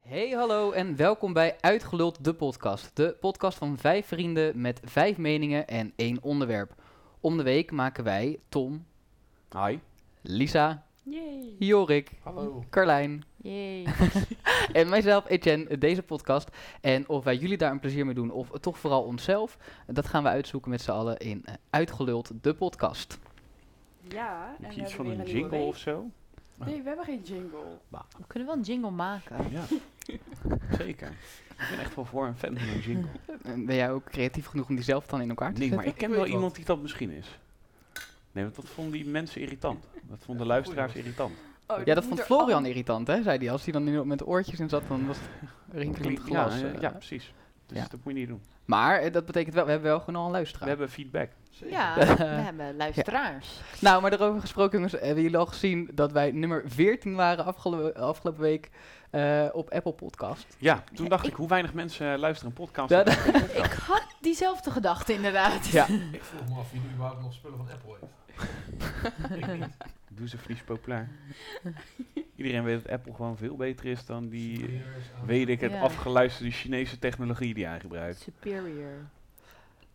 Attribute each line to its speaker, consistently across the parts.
Speaker 1: Hey, hallo en welkom bij Uitgeluld, de podcast. De podcast van vijf vrienden met vijf meningen en één onderwerp. Om de week maken wij Tom,
Speaker 2: Hi.
Speaker 1: Lisa,
Speaker 3: Yay.
Speaker 1: Jorik,
Speaker 4: Hm.
Speaker 2: Hallo.
Speaker 1: Carlijn
Speaker 3: Yay.
Speaker 1: en mijzelf, Etienne, deze podcast. En of wij jullie daar een plezier mee doen of toch vooral onszelf, dat gaan we uitzoeken met z'n allen in eh, Uitgeluld, de podcast.
Speaker 3: Ja, en
Speaker 2: Heb
Speaker 3: we
Speaker 2: je iets
Speaker 3: hebben
Speaker 2: van
Speaker 3: weer
Speaker 2: een
Speaker 3: nieuwe
Speaker 2: jingle
Speaker 3: week.
Speaker 2: of zo?
Speaker 3: Nee, we hebben geen jingle.
Speaker 5: We kunnen wel een jingle maken.
Speaker 2: Ja, zeker. Ik ben echt wel voor een fan van een jingle.
Speaker 1: En Eh, Ben jij ook creatief genoeg om die zelf dan in elkaar te
Speaker 2: Nee, maar
Speaker 1: zetten?
Speaker 2: ik ken wel iemand die dat misschien is. Nee, want dat vonden die mensen irritant. Dat vonden luisteraars irritant.
Speaker 3: Oh,
Speaker 1: Ja,
Speaker 3: dit
Speaker 1: dat
Speaker 3: moet
Speaker 1: vond
Speaker 3: er
Speaker 1: Florian
Speaker 3: al-
Speaker 1: irritant, hè, zei hij. Als hij dan nu met de oortjes in zat, dan was het rinkelend
Speaker 2: ja,
Speaker 1: glas.
Speaker 2: eh,
Speaker 1: eh.
Speaker 2: ja, precies. Dus
Speaker 1: ja.
Speaker 2: dat moet je niet doen.
Speaker 1: Maar eh, dat betekent wel, we hebben wel gewoon al een luisteraar.
Speaker 2: We hebben feedback.
Speaker 5: Ja, we hebben luisteraars.
Speaker 1: Nou, maar daarover gesproken, jongens, hebben jullie al gezien dat wij nummer 14 waren afgelo- afgelopen week eh, op Apple Podcast?
Speaker 2: Ja, toen
Speaker 5: Ja,
Speaker 2: dacht ik,
Speaker 5: ik-
Speaker 2: hoe weinig mensen eh, luisteren een podcast.
Speaker 1: Ja,
Speaker 5: Ik had diezelfde gedachte inderdaad.
Speaker 1: Ja.
Speaker 4: Ik vroeg me af wie nu überhaupt nog spullen van Apple heeft.
Speaker 2: nou, Doe ze vries populair. Iedereen weet dat Apple gewoon veel beter is dan die,
Speaker 4: Hier is aan-
Speaker 2: weet ik het,
Speaker 5: Ja.
Speaker 2: afgeluisterde Chinese technologie die hij gebruikt.
Speaker 5: Superior.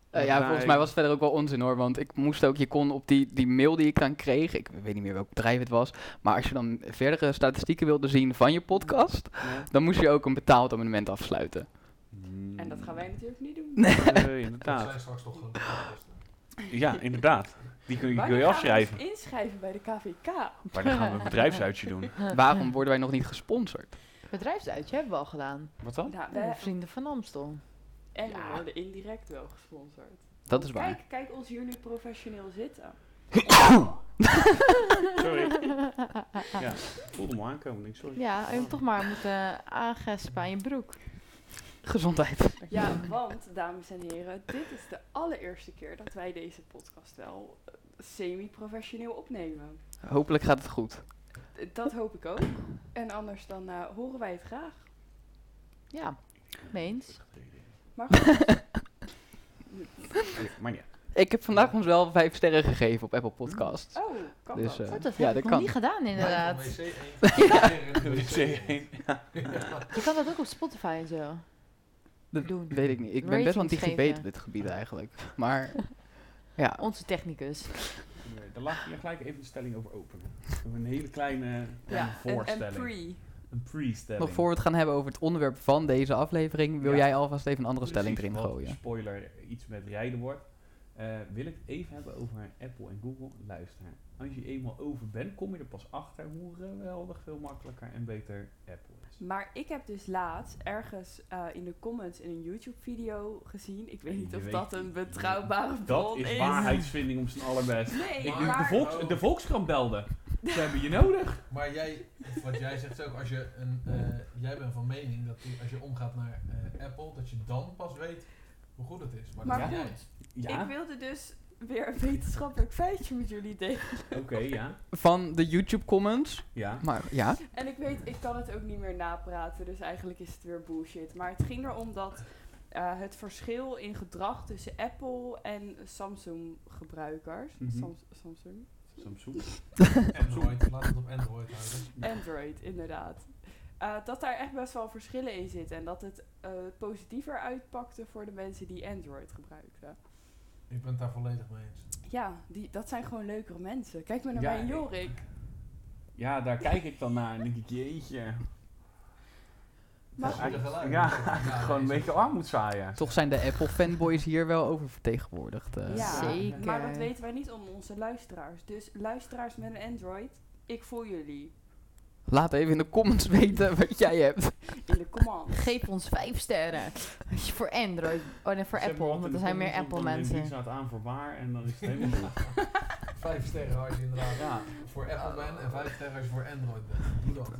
Speaker 1: Eh, ja,
Speaker 2: Ja,
Speaker 1: volgens
Speaker 2: ik-
Speaker 1: mij was het verder ook wel onzin hoor, want ik moest ook, je kon op die, die mail die ik dan kreeg, ik weet niet meer welk bedrijf het was, maar als je dan verdere statistieken wilde zien van je podcast, dan moest je ook een betaald abonnement afsluiten.
Speaker 3: En dat gaan wij natuurlijk niet doen.
Speaker 2: Nee,
Speaker 4: Dat
Speaker 2: Eh, inderdaad.
Speaker 4: zijn straks toch gewoon de podcasten.
Speaker 2: Ja, inderdaad. Die kun je,
Speaker 3: Wanneer
Speaker 2: kun je
Speaker 3: gaan we
Speaker 2: afschrijven.
Speaker 3: ons inschrijven bij de KVK.
Speaker 2: Maar dan gaan we een bedrijfsuitje doen.
Speaker 1: Waarom worden wij nog niet gesponsord?
Speaker 5: Bedrijfsuitje hebben we al gedaan.
Speaker 2: Wat dan?
Speaker 1: Oh,
Speaker 3: Nou,
Speaker 5: Eh,
Speaker 3: wij,
Speaker 5: Vrienden van Amstel.
Speaker 3: en we
Speaker 1: Ja.
Speaker 3: worden indirect wel gesponsord.
Speaker 1: Dat is waar.
Speaker 3: Kijk, kijk ons hier nu professioneel zitten.
Speaker 2: Sorry. Ja, voelde me aankomen. denk ik, Sorry.
Speaker 5: Ja, je moet toch maar moeten aangespen aan je broek.
Speaker 1: Gezondheid.
Speaker 3: Ja, want, dames en heren, dit is de allereerste keer dat wij deze podcast wel eh, semi-professioneel opnemen.
Speaker 1: Hopelijk gaat het goed.
Speaker 3: Eh, Dat hoop ik ook. En anders dan eh, horen wij het graag.
Speaker 5: Ja, meens.
Speaker 3: Maar goed.
Speaker 2: Maar ja.
Speaker 1: Ik heb vandaag ons wel vijf sterren gegeven op Apple Podcast.
Speaker 3: Oh, kan
Speaker 1: Dus,
Speaker 3: dat?
Speaker 1: eh,
Speaker 5: Oh, dat heb
Speaker 1: Ja,
Speaker 5: ik
Speaker 1: dat
Speaker 5: nog
Speaker 1: kan.
Speaker 5: niet gedaan inderdaad.
Speaker 4: Blijf van WC één.
Speaker 5: Je kan dat ook op Spotify en zo
Speaker 1: Dat
Speaker 5: doen.
Speaker 1: Weet ik niet. Ik ben best wel een
Speaker 5: Ratings
Speaker 1: digibet
Speaker 5: geven.
Speaker 1: op dit gebied eigenlijk. Maar ja,
Speaker 5: Onze technicus.
Speaker 2: Nee, Daar laat ik hier gelijk even de stelling over open. We hebben een hele kleine
Speaker 3: Ja,
Speaker 2: een
Speaker 3: en,
Speaker 2: voorstelling.
Speaker 3: pre.
Speaker 2: Een pre-stelling.
Speaker 1: nog voor we het gaan hebben over het onderwerp van deze aflevering, wil
Speaker 2: Ja.
Speaker 1: jij alvast even een andere stelling
Speaker 2: Precies,
Speaker 1: erin
Speaker 2: wat,
Speaker 1: gooien.
Speaker 2: Dus Spoiler, iets met rijden wordt. Eh, wil ik het even hebben over Apple en Google? Luister, als je eenmaal over bent, kom je er pas achter hoe geweldig veel makkelijker en beter Apple is.
Speaker 3: Maar ik heb dus laatst ergens eh, in de comments in een YouTube-video gezien. Ik weet niet
Speaker 2: Je
Speaker 3: of
Speaker 2: weet
Speaker 3: dat een
Speaker 2: niet.
Speaker 3: betrouwbare
Speaker 2: Dat
Speaker 3: bron
Speaker 2: is waarheidsvinding om zijn allerbest.
Speaker 3: Nee,
Speaker 2: Ik, de,
Speaker 3: maar...
Speaker 2: volks, de Volkskrant belde. Ze hebben je nodig.
Speaker 4: Maar jij, wat jij zegt is ook, als je een, eh, jij bent van mening dat die- als je omgaat naar eh, Apple, dat je dan pas weet hoe goed het is. Maar,
Speaker 3: Maar
Speaker 4: dat
Speaker 3: goed.
Speaker 4: weet jij.
Speaker 3: Ik wilde dus weer een wetenschappelijk feitje met jullie delen.
Speaker 2: oké, ja.
Speaker 1: Van de YouTube comments.
Speaker 2: Ja.
Speaker 1: Maar ja,
Speaker 3: En ik weet, ik kan het ook niet meer napraten, dus eigenlijk is het weer bullshit. Maar het ging erom dat eh, het verschil in gedrag tussen Apple en Samsung-gebruikers...
Speaker 2: Mhm.
Speaker 3: Sams- Samsung?
Speaker 2: Samsung.
Speaker 4: Android, laat het op Android houden.
Speaker 2: Ja.
Speaker 3: Android, inderdaad. Eh, dat daar echt best wel verschillen in zitten. En dat het eh, positiever uitpakte voor de mensen die Android gebruikten.
Speaker 4: Ik ben het daar volledig mee eens.
Speaker 3: Ja, die, dat zijn gewoon leukere mensen. Kijk maar naar
Speaker 2: Ja,
Speaker 3: mijn
Speaker 2: ik-
Speaker 3: Jorik.
Speaker 2: Ja, daar kijk ik dan naar en denk ik, jeetje.
Speaker 3: Maar
Speaker 4: Ja, eigenlijk-
Speaker 2: ja,
Speaker 4: gelijk.
Speaker 2: gewoon een beetje armoed zaaien.
Speaker 1: toch zijn de Apple fanboys hier wel over vertegenwoordigd. eh.
Speaker 3: ja,
Speaker 5: Zeker.
Speaker 3: maar dat weten wij niet om onze luisteraars. Dus luisteraars met een Android, ik voel jullie.
Speaker 1: Laat even in de comments weten wat jij hebt.
Speaker 3: In de command.
Speaker 5: Geef ons vijf sterren. Als je voor Android. Oh nee, voor
Speaker 2: Ze hebben
Speaker 5: Apple.
Speaker 2: wat in de
Speaker 5: Want er zijn meer
Speaker 2: comments,
Speaker 5: Apple
Speaker 2: dan neem ik
Speaker 5: mensen.
Speaker 2: iets aan het aan voor waar en dan is het helemaal goed.
Speaker 4: Vijf sterren als je inderdaad
Speaker 2: Ja.
Speaker 4: voor Apple bent en vijf sterren als je voor Android bent. Doe dat.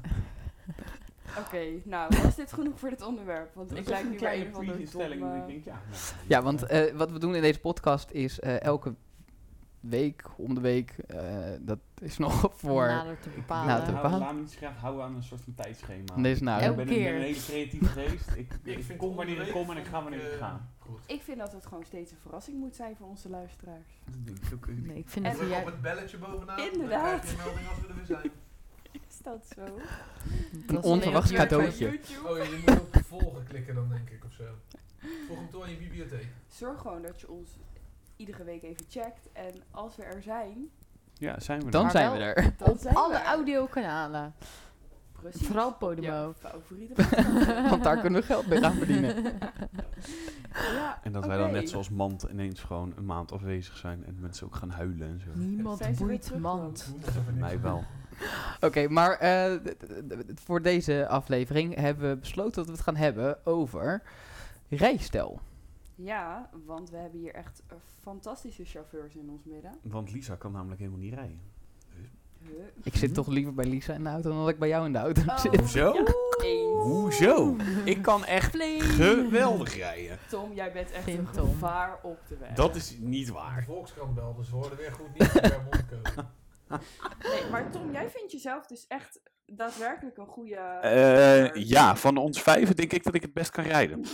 Speaker 3: Oké, nou, was dit genoeg voor dit onderwerp? Want
Speaker 2: Dat
Speaker 3: ik
Speaker 2: is
Speaker 3: lijk
Speaker 2: een
Speaker 3: nu weer
Speaker 2: kleine
Speaker 3: een van de
Speaker 2: pre-stelling. en Ik
Speaker 5: eh,
Speaker 3: domme...
Speaker 2: denk, ja, nou,
Speaker 1: Ja, want eh, wat we doen in deze podcast is eh, elke week, om de week, eh, dat is nog
Speaker 5: Om
Speaker 1: voor...
Speaker 5: nader te
Speaker 2: Hou-
Speaker 5: bepalen.
Speaker 1: Nou, te bepalen.
Speaker 2: Laat me niet zo graag houden aan een soort van tijdschema.
Speaker 1: Deze nou,
Speaker 2: ik
Speaker 5: Elke
Speaker 2: ben, een- ben
Speaker 5: keer.
Speaker 2: een hele creatieve geest. Ik, ik,
Speaker 4: vind
Speaker 2: kom wanneer
Speaker 4: onderweg
Speaker 2: ik kom en ik
Speaker 4: vind
Speaker 2: ga wanneer ik
Speaker 4: eh,
Speaker 2: ga.
Speaker 4: Goed.
Speaker 3: Ik vind dat het gewoon steeds een verrassing moet zijn voor onze luisteraars.
Speaker 2: Dat denk ik ook.
Speaker 4: eh,
Speaker 5: Nee, ik vind
Speaker 3: En
Speaker 5: het
Speaker 4: Druk
Speaker 5: wel
Speaker 4: op het belletje bovenaan.
Speaker 3: Inderdaad.
Speaker 4: Dan krijg je een melding als we er weer zijn.
Speaker 3: dat zo?
Speaker 1: Een
Speaker 5: is
Speaker 1: onverwachts
Speaker 5: heel duur voor
Speaker 1: cadeautje.
Speaker 3: YouTube.
Speaker 6: Oh, je moet op volgen klikken dan, denk ik, of zo. Voeg hem toe aan je bibliotheek.
Speaker 3: Zorg gewoon dat je ons iedere week even checkt. En als we er zijn,
Speaker 2: Ja, zijn we
Speaker 1: Dan
Speaker 5: Maar
Speaker 1: zijn we
Speaker 5: wel-
Speaker 1: er.
Speaker 3: dan zijn we
Speaker 5: Alle
Speaker 3: er.
Speaker 5: audiokanalen.
Speaker 3: Precies.
Speaker 5: Vooral
Speaker 3: Jouw
Speaker 5: Podimo.
Speaker 3: favoriete podcast.
Speaker 1: Want daar kunnen we geld mee gaan verdienen.
Speaker 3: Ja,
Speaker 2: En dat wij dan
Speaker 3: oké.
Speaker 2: net zoals Mand ineens gewoon een maand afwezig zijn en mensen ook gaan huilen en zo.
Speaker 5: Niemand
Speaker 3: Zijn ze weer
Speaker 5: boeit
Speaker 3: terug
Speaker 5: mand.
Speaker 6: Doen alsof er niks
Speaker 2: Mij wel.
Speaker 1: Oké, maar eh, d- d- d- voor deze aflevering hebben we besloten dat we het gaan hebben over rijstijl.
Speaker 3: Ja, want we hebben hier echt eh, fantastische chauffeurs in ons midden.
Speaker 2: Want Lisa kan namelijk helemaal niet rijden.
Speaker 3: Huh?
Speaker 1: Ik zit toch liever bij Lisa in de auto dan dat ik bij jou in de auto
Speaker 6: Oh,
Speaker 1: zit.
Speaker 2: Hoezo?
Speaker 3: ja, eens.
Speaker 2: Hoezo? Ik kan echt geweldig rijden.
Speaker 3: Tom, jij bent echt
Speaker 5: Vind
Speaker 3: een
Speaker 5: Tom.
Speaker 3: gevaar op de weg.
Speaker 2: Dat is niet
Speaker 6: De
Speaker 2: waar.
Speaker 6: Volkskrant belde, ze hoorden weer goed nieuws per mondkoop.
Speaker 3: Nee, maar Tom, jij vindt jezelf dus echt daadwerkelijk een goede...
Speaker 2: Eh,
Speaker 3: chauffeur.
Speaker 2: ja, van ons vijven denk ik dat ik het best kan rijden.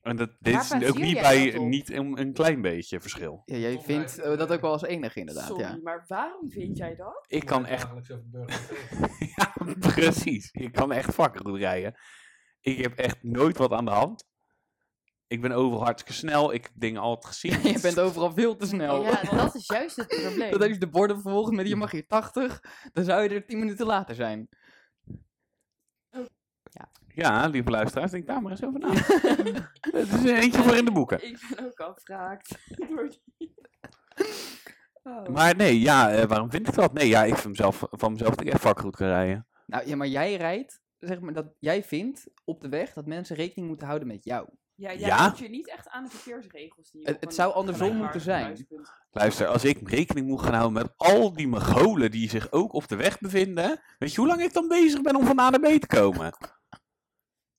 Speaker 2: En dat, dit
Speaker 5: Waar
Speaker 2: is ook
Speaker 5: baseer
Speaker 2: niet
Speaker 5: jij dat
Speaker 2: bij
Speaker 5: op?
Speaker 2: niet een, een klein beetje verschil.
Speaker 1: Ja, jij
Speaker 6: Toch
Speaker 1: vindt
Speaker 6: rijden.
Speaker 1: eh, dat ook wel als enig inderdaad,
Speaker 3: Sorry,
Speaker 1: ja.
Speaker 3: maar waarom vind jij dat?
Speaker 2: Ik kan echt,
Speaker 6: Dagelijks over de burger.
Speaker 2: ja, precies. Ik kan echt fucking goed rijden. Ik heb echt nooit wat aan de hand. Ik ben overal hartstikke snel. Ik heb dingen altijd gezien.
Speaker 1: Je bent overal veel te
Speaker 2: oh.
Speaker 1: snel.
Speaker 5: Ja, dat is juist het probleem.
Speaker 1: Dat heeft de borden vervolgens met je mag hier 80, dan zou je er 10 minuten later zijn.
Speaker 2: Ja, lieve luisteraars, denk daar maar eens over na. Het is er eentje voor in de boeken.
Speaker 3: Ik ben ook afgehaakt door die... Oh.
Speaker 2: Maar nee, ja, eh, waarom vind ik dat? Nee, ja, ik vind mezelf, van mezelf dat ik echt fucking goed kan rijden.
Speaker 1: Nou ja, maar jij rijdt, zeg maar, dat jij vindt op de weg dat mensen rekening moeten houden met jou.
Speaker 3: Ja, jij
Speaker 2: Ja?
Speaker 3: houdt je niet echt aan de verkeersregels. Die je
Speaker 1: Het-
Speaker 3: op
Speaker 1: het
Speaker 3: een
Speaker 1: zou andersom
Speaker 3: gelijkwaardig
Speaker 1: moeten zijn.
Speaker 3: kruispunt-
Speaker 2: Luister, als ik rekening moet gaan houden met al die mogolen die zich ook op de weg bevinden, weet je hoe lang ik dan bezig ben om van A naar B te komen?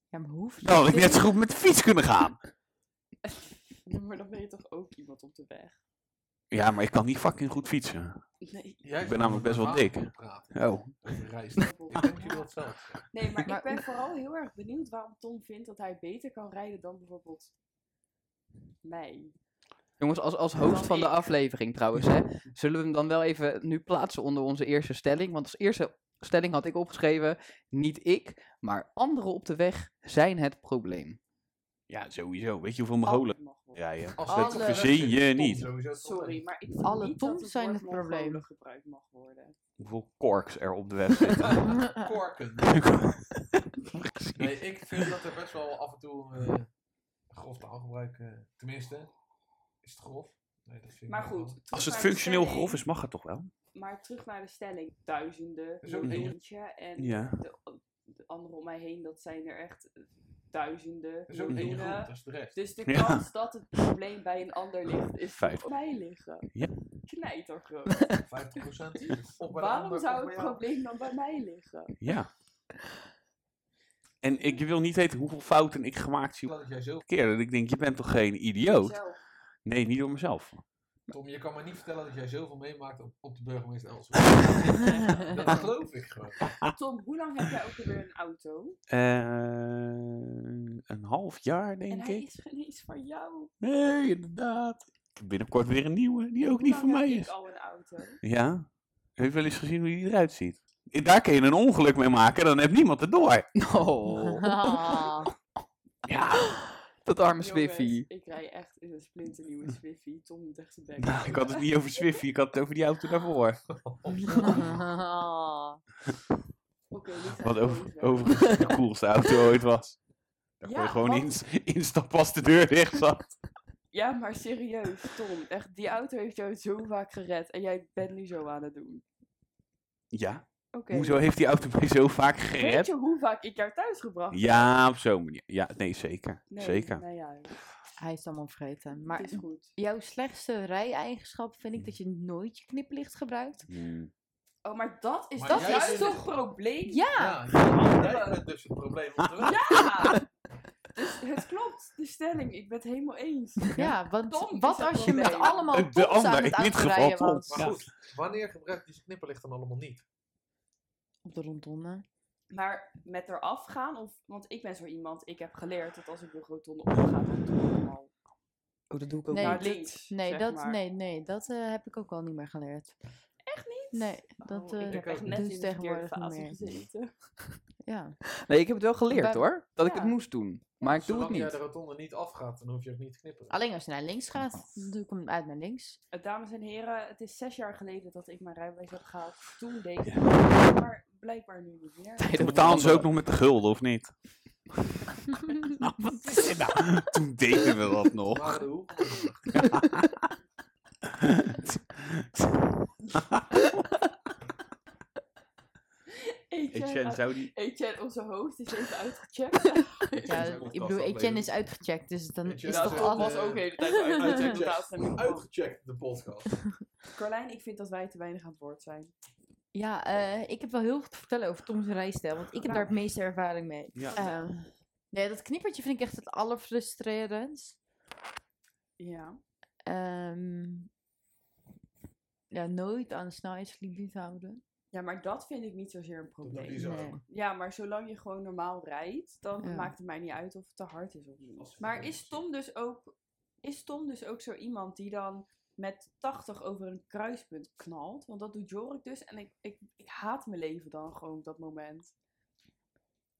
Speaker 5: Ja, maar hoe
Speaker 2: Dan had ik net zo goed met de fiets kunnen gaan.
Speaker 3: Ja, maar dan ben je toch ook iemand op de weg?
Speaker 2: Ja, maar ik kan niet fucking goed fietsen.
Speaker 3: Nee,
Speaker 6: Jij
Speaker 2: Ik ben namelijk best wel
Speaker 6: normaal
Speaker 2: dik.
Speaker 6: praten
Speaker 2: Oh.
Speaker 6: over rijst.
Speaker 3: dubbel.
Speaker 6: Ik denk je dat zelf.
Speaker 3: Nee, maar ik
Speaker 5: Maar-
Speaker 3: ben vooral heel erg benieuwd waarom Tom vindt dat hij beter kan rijden dan bijvoorbeeld mij.
Speaker 1: Jongens, als, als hoofd
Speaker 3: Dan
Speaker 1: van de
Speaker 3: ik.
Speaker 1: aflevering trouwens, hè, zullen we hem dan wel even nu plaatsen onder onze eerste stelling. Want als eerste stelling had ik opgeschreven, niet ik, maar anderen op de weg zijn het probleem.
Speaker 2: Ja, sowieso. Weet je hoeveel mogolen
Speaker 3: Alles mag wel.
Speaker 2: rijden?
Speaker 6: Als
Speaker 5: Alle-
Speaker 6: het
Speaker 2: verzin je
Speaker 6: Tom
Speaker 2: niet.
Speaker 6: sowieso het
Speaker 3: Sorry,
Speaker 6: probleem.
Speaker 3: maar ik vind
Speaker 5: Alle
Speaker 3: niet
Speaker 5: Toms
Speaker 3: dat het
Speaker 5: zijn
Speaker 3: woord
Speaker 5: het probleem.
Speaker 3: Mongolen gebruikt mag worden.
Speaker 2: Hoeveel korks er op de weg zitten?
Speaker 6: Korken. Nee, ik vind dat er best wel af en toe eh grof taalgebruik, eh, tenminste, is het grof. Nee, dat vind ik
Speaker 3: Maar
Speaker 6: wel.
Speaker 3: goed, terug
Speaker 2: Als het
Speaker 3: naar de
Speaker 2: functioneel
Speaker 3: stelling.
Speaker 2: grof is, mag het toch wel?
Speaker 3: Maar terug naar de stelling, duizenden,
Speaker 6: Er is ook één.
Speaker 3: miljoentje en
Speaker 2: Ja.
Speaker 3: de, de anderen om mij heen, dat zijn er echt eh, duizenden,
Speaker 6: Er is ook één
Speaker 3: miljoenen.
Speaker 6: groep, dat is de rest.
Speaker 3: Dus de
Speaker 2: Ja.
Speaker 3: kans dat het probleem bij een ander ligt, is
Speaker 2: Feit.
Speaker 3: op mij liggen.
Speaker 2: Ja.
Speaker 3: Knijtergroot.
Speaker 6: 50% of bij de
Speaker 3: Waarom
Speaker 6: ander
Speaker 3: zou
Speaker 6: of
Speaker 3: het
Speaker 6: bij jou.
Speaker 3: probleem dan bij mij liggen?
Speaker 2: Ja. En ik wil niet weten hoeveel fouten ik gemaakt zie op
Speaker 6: Stel dat jij zelf,
Speaker 2: een keer. Dat ik denk, je bent toch geen idioot?
Speaker 3: Zelf.
Speaker 2: Nee, niet door mezelf.
Speaker 6: Tom, je kan me niet vertellen dat jij zoveel meemaakt op, op de burgemeester Elsberg. dat geloof ik gewoon.
Speaker 2: Ah.
Speaker 3: Tom, hoe lang heb jij ook weer een auto?
Speaker 2: Eh, een half jaar,
Speaker 3: En
Speaker 2: denk
Speaker 3: hij
Speaker 2: ik.
Speaker 3: is geen eens van jou.
Speaker 2: Nee, inderdaad. Ik heb binnenkort weer een nieuwe, die ook
Speaker 3: Hoe
Speaker 2: niet
Speaker 3: lang
Speaker 2: van mij
Speaker 3: heb Ik
Speaker 2: is.
Speaker 3: al een auto.
Speaker 2: Ja? Heb je wel eens gezien hoe die eruit ziet? Eh, Daar kun je een ongeluk mee maken, dan heeft niemand het door.
Speaker 1: Oh,
Speaker 5: Ah,
Speaker 2: Ja,
Speaker 1: dat arme
Speaker 3: Jongens,
Speaker 1: Swiffy.
Speaker 3: Ik rij echt in een splinternieuwe Swiffy. Tom moet echt zijn bek.
Speaker 2: nou, ik had het niet over Swift, ik had het over die auto daarvoor.
Speaker 3: Oké, dit zijn
Speaker 2: Wat
Speaker 3: we
Speaker 2: over,
Speaker 3: niet weg.
Speaker 2: overigens de coolste auto ooit was. Daar
Speaker 3: Ja,
Speaker 2: kon je gewoon
Speaker 3: want-
Speaker 2: ins- instappen als de deur dicht zat.
Speaker 3: Ja, maar serieus, Tom. Echt, die auto heeft jou zo vaak gered. En jij bent nu zo aan het doen.
Speaker 2: Ja,
Speaker 3: Oké.
Speaker 2: hoezo heeft die auto mij zo vaak
Speaker 3: Weet
Speaker 2: gered?
Speaker 3: je hoe vaak ik jou thuis gebracht heb?
Speaker 2: Ja, op zo'n manier. Ja, nee, zeker.
Speaker 3: Nee,
Speaker 2: zeker.
Speaker 3: Nou ja,
Speaker 5: hij is allemaal vergeten. Maar
Speaker 3: het is goed.
Speaker 5: jouw slechtste rijeigenschap vind ik dat je nooit je knipperlicht gebruikt.
Speaker 2: Hmm.
Speaker 3: Oh, maar dat is,
Speaker 6: Maar
Speaker 3: dat
Speaker 6: jij
Speaker 3: is
Speaker 6: bent-
Speaker 3: toch het probleem?
Speaker 5: Ja,
Speaker 6: Ja, jij bent dus het probleem. op de weg.
Speaker 3: Ja! dus het klopt, de stelling. Ik ben het helemaal eens.
Speaker 5: ja want
Speaker 3: Tom is
Speaker 5: wat
Speaker 3: het
Speaker 5: als je met
Speaker 3: probleem.
Speaker 5: allemaal
Speaker 2: De
Speaker 5: tops aan
Speaker 2: ander,
Speaker 5: het
Speaker 2: in dit geval
Speaker 5: autorijden
Speaker 2: Tom.
Speaker 5: was?
Speaker 6: Maar
Speaker 2: Ja.
Speaker 6: goed, wanneer gebruikt die knipperlicht dan allemaal niet?
Speaker 5: Op de rondonne.
Speaker 3: Maar met eraf gaan, of, want ik ben zo iemand, ik heb geleerd dat als ik de rotonde opga, dan doe ik hem al
Speaker 1: Oh, dat doe ik
Speaker 5: Nee,
Speaker 3: naar
Speaker 5: dit-
Speaker 3: links.
Speaker 5: Nee,
Speaker 3: zeg
Speaker 5: dat,
Speaker 3: maar.
Speaker 5: nee, nee, dat eh, heb ik ook al niet meer geleerd.
Speaker 3: Echt niet?
Speaker 5: Nee, dat, eh,
Speaker 3: Oh, ik heb
Speaker 6: dat
Speaker 3: echt net
Speaker 5: doen
Speaker 3: in
Speaker 5: ze
Speaker 3: de verkeerde
Speaker 5: tegenwoordig niet
Speaker 3: fase
Speaker 5: meer.
Speaker 3: gezeten.
Speaker 5: Ja.
Speaker 1: Nee, ik heb het wel geleerd
Speaker 5: Bij-
Speaker 1: hoor. Dat ik
Speaker 3: Ja.
Speaker 1: het moest doen. Maar ik doe het
Speaker 6: Zolang jij
Speaker 1: niet.
Speaker 6: de rotonde niet afgaat, dan hoef je ook niet te knipperen.
Speaker 5: Alleen als je naar links gaat, dan doe ik hem uit naar links.
Speaker 3: Eh, Dames en heren, het is zes jaar geleden dat ik mijn rijbewijs heb gehaald. Toen deed ik
Speaker 7: Ja.
Speaker 3: het, maar blijkbaar nu niet meer.
Speaker 7: Toen
Speaker 1: Nee, dat
Speaker 7: betaalden
Speaker 1: betaalde
Speaker 7: ze ook nog met de gulden, of niet? nou, wat is dit nou? Toen deden we dat nog.
Speaker 6: Maar de hoek.
Speaker 7: Etienne, zou die...
Speaker 3: Etienne, onze hoofd is even uitgecheckt.
Speaker 5: Ja,
Speaker 6: dat is ook
Speaker 5: ik
Speaker 6: een
Speaker 5: bedoel, Etienne is
Speaker 6: aflevering.
Speaker 5: uitgecheckt, dus dan is
Speaker 6: Etienne
Speaker 5: het
Speaker 6: is
Speaker 5: toch altijd...
Speaker 6: uitgecheckt. was
Speaker 3: was
Speaker 6: ook
Speaker 3: ook
Speaker 6: de hele
Speaker 3: hele tijd
Speaker 6: uitgecheckt.
Speaker 3: inderdaad.
Speaker 6: Uitgecheckt, de podcast.
Speaker 3: Carlijn, ik vind dat wij te weinig aan het woord zijn.
Speaker 5: Ja, eh, ik heb wel heel veel te vertellen over Tom's rijstijl, want ik heb daar het meeste ervaring mee.
Speaker 7: Ja.
Speaker 3: Eh.
Speaker 5: Ehm, nee, dat knippertje vind ik echt het allerfrustrerendst.
Speaker 3: Ja.
Speaker 5: Ehm, ja, nooit aan de snelheidslimiet houden.
Speaker 3: Ja, maar dat vind ik niet zozeer een
Speaker 6: Dat doen
Speaker 3: probleem.
Speaker 6: die zo
Speaker 5: Nee.
Speaker 6: ook.
Speaker 3: Ja, maar zolang je gewoon normaal rijdt, dan
Speaker 5: Ja.
Speaker 3: maakt het mij niet uit of het te hard is of niet.
Speaker 6: Als-
Speaker 3: Maar is Tom dus ook, is Tom dus ook zo iemand die dan met 80 over een kruispunt knalt? Want dat doet Jorik dus en ik, ik, ik haat mijn leven dan gewoon op dat moment.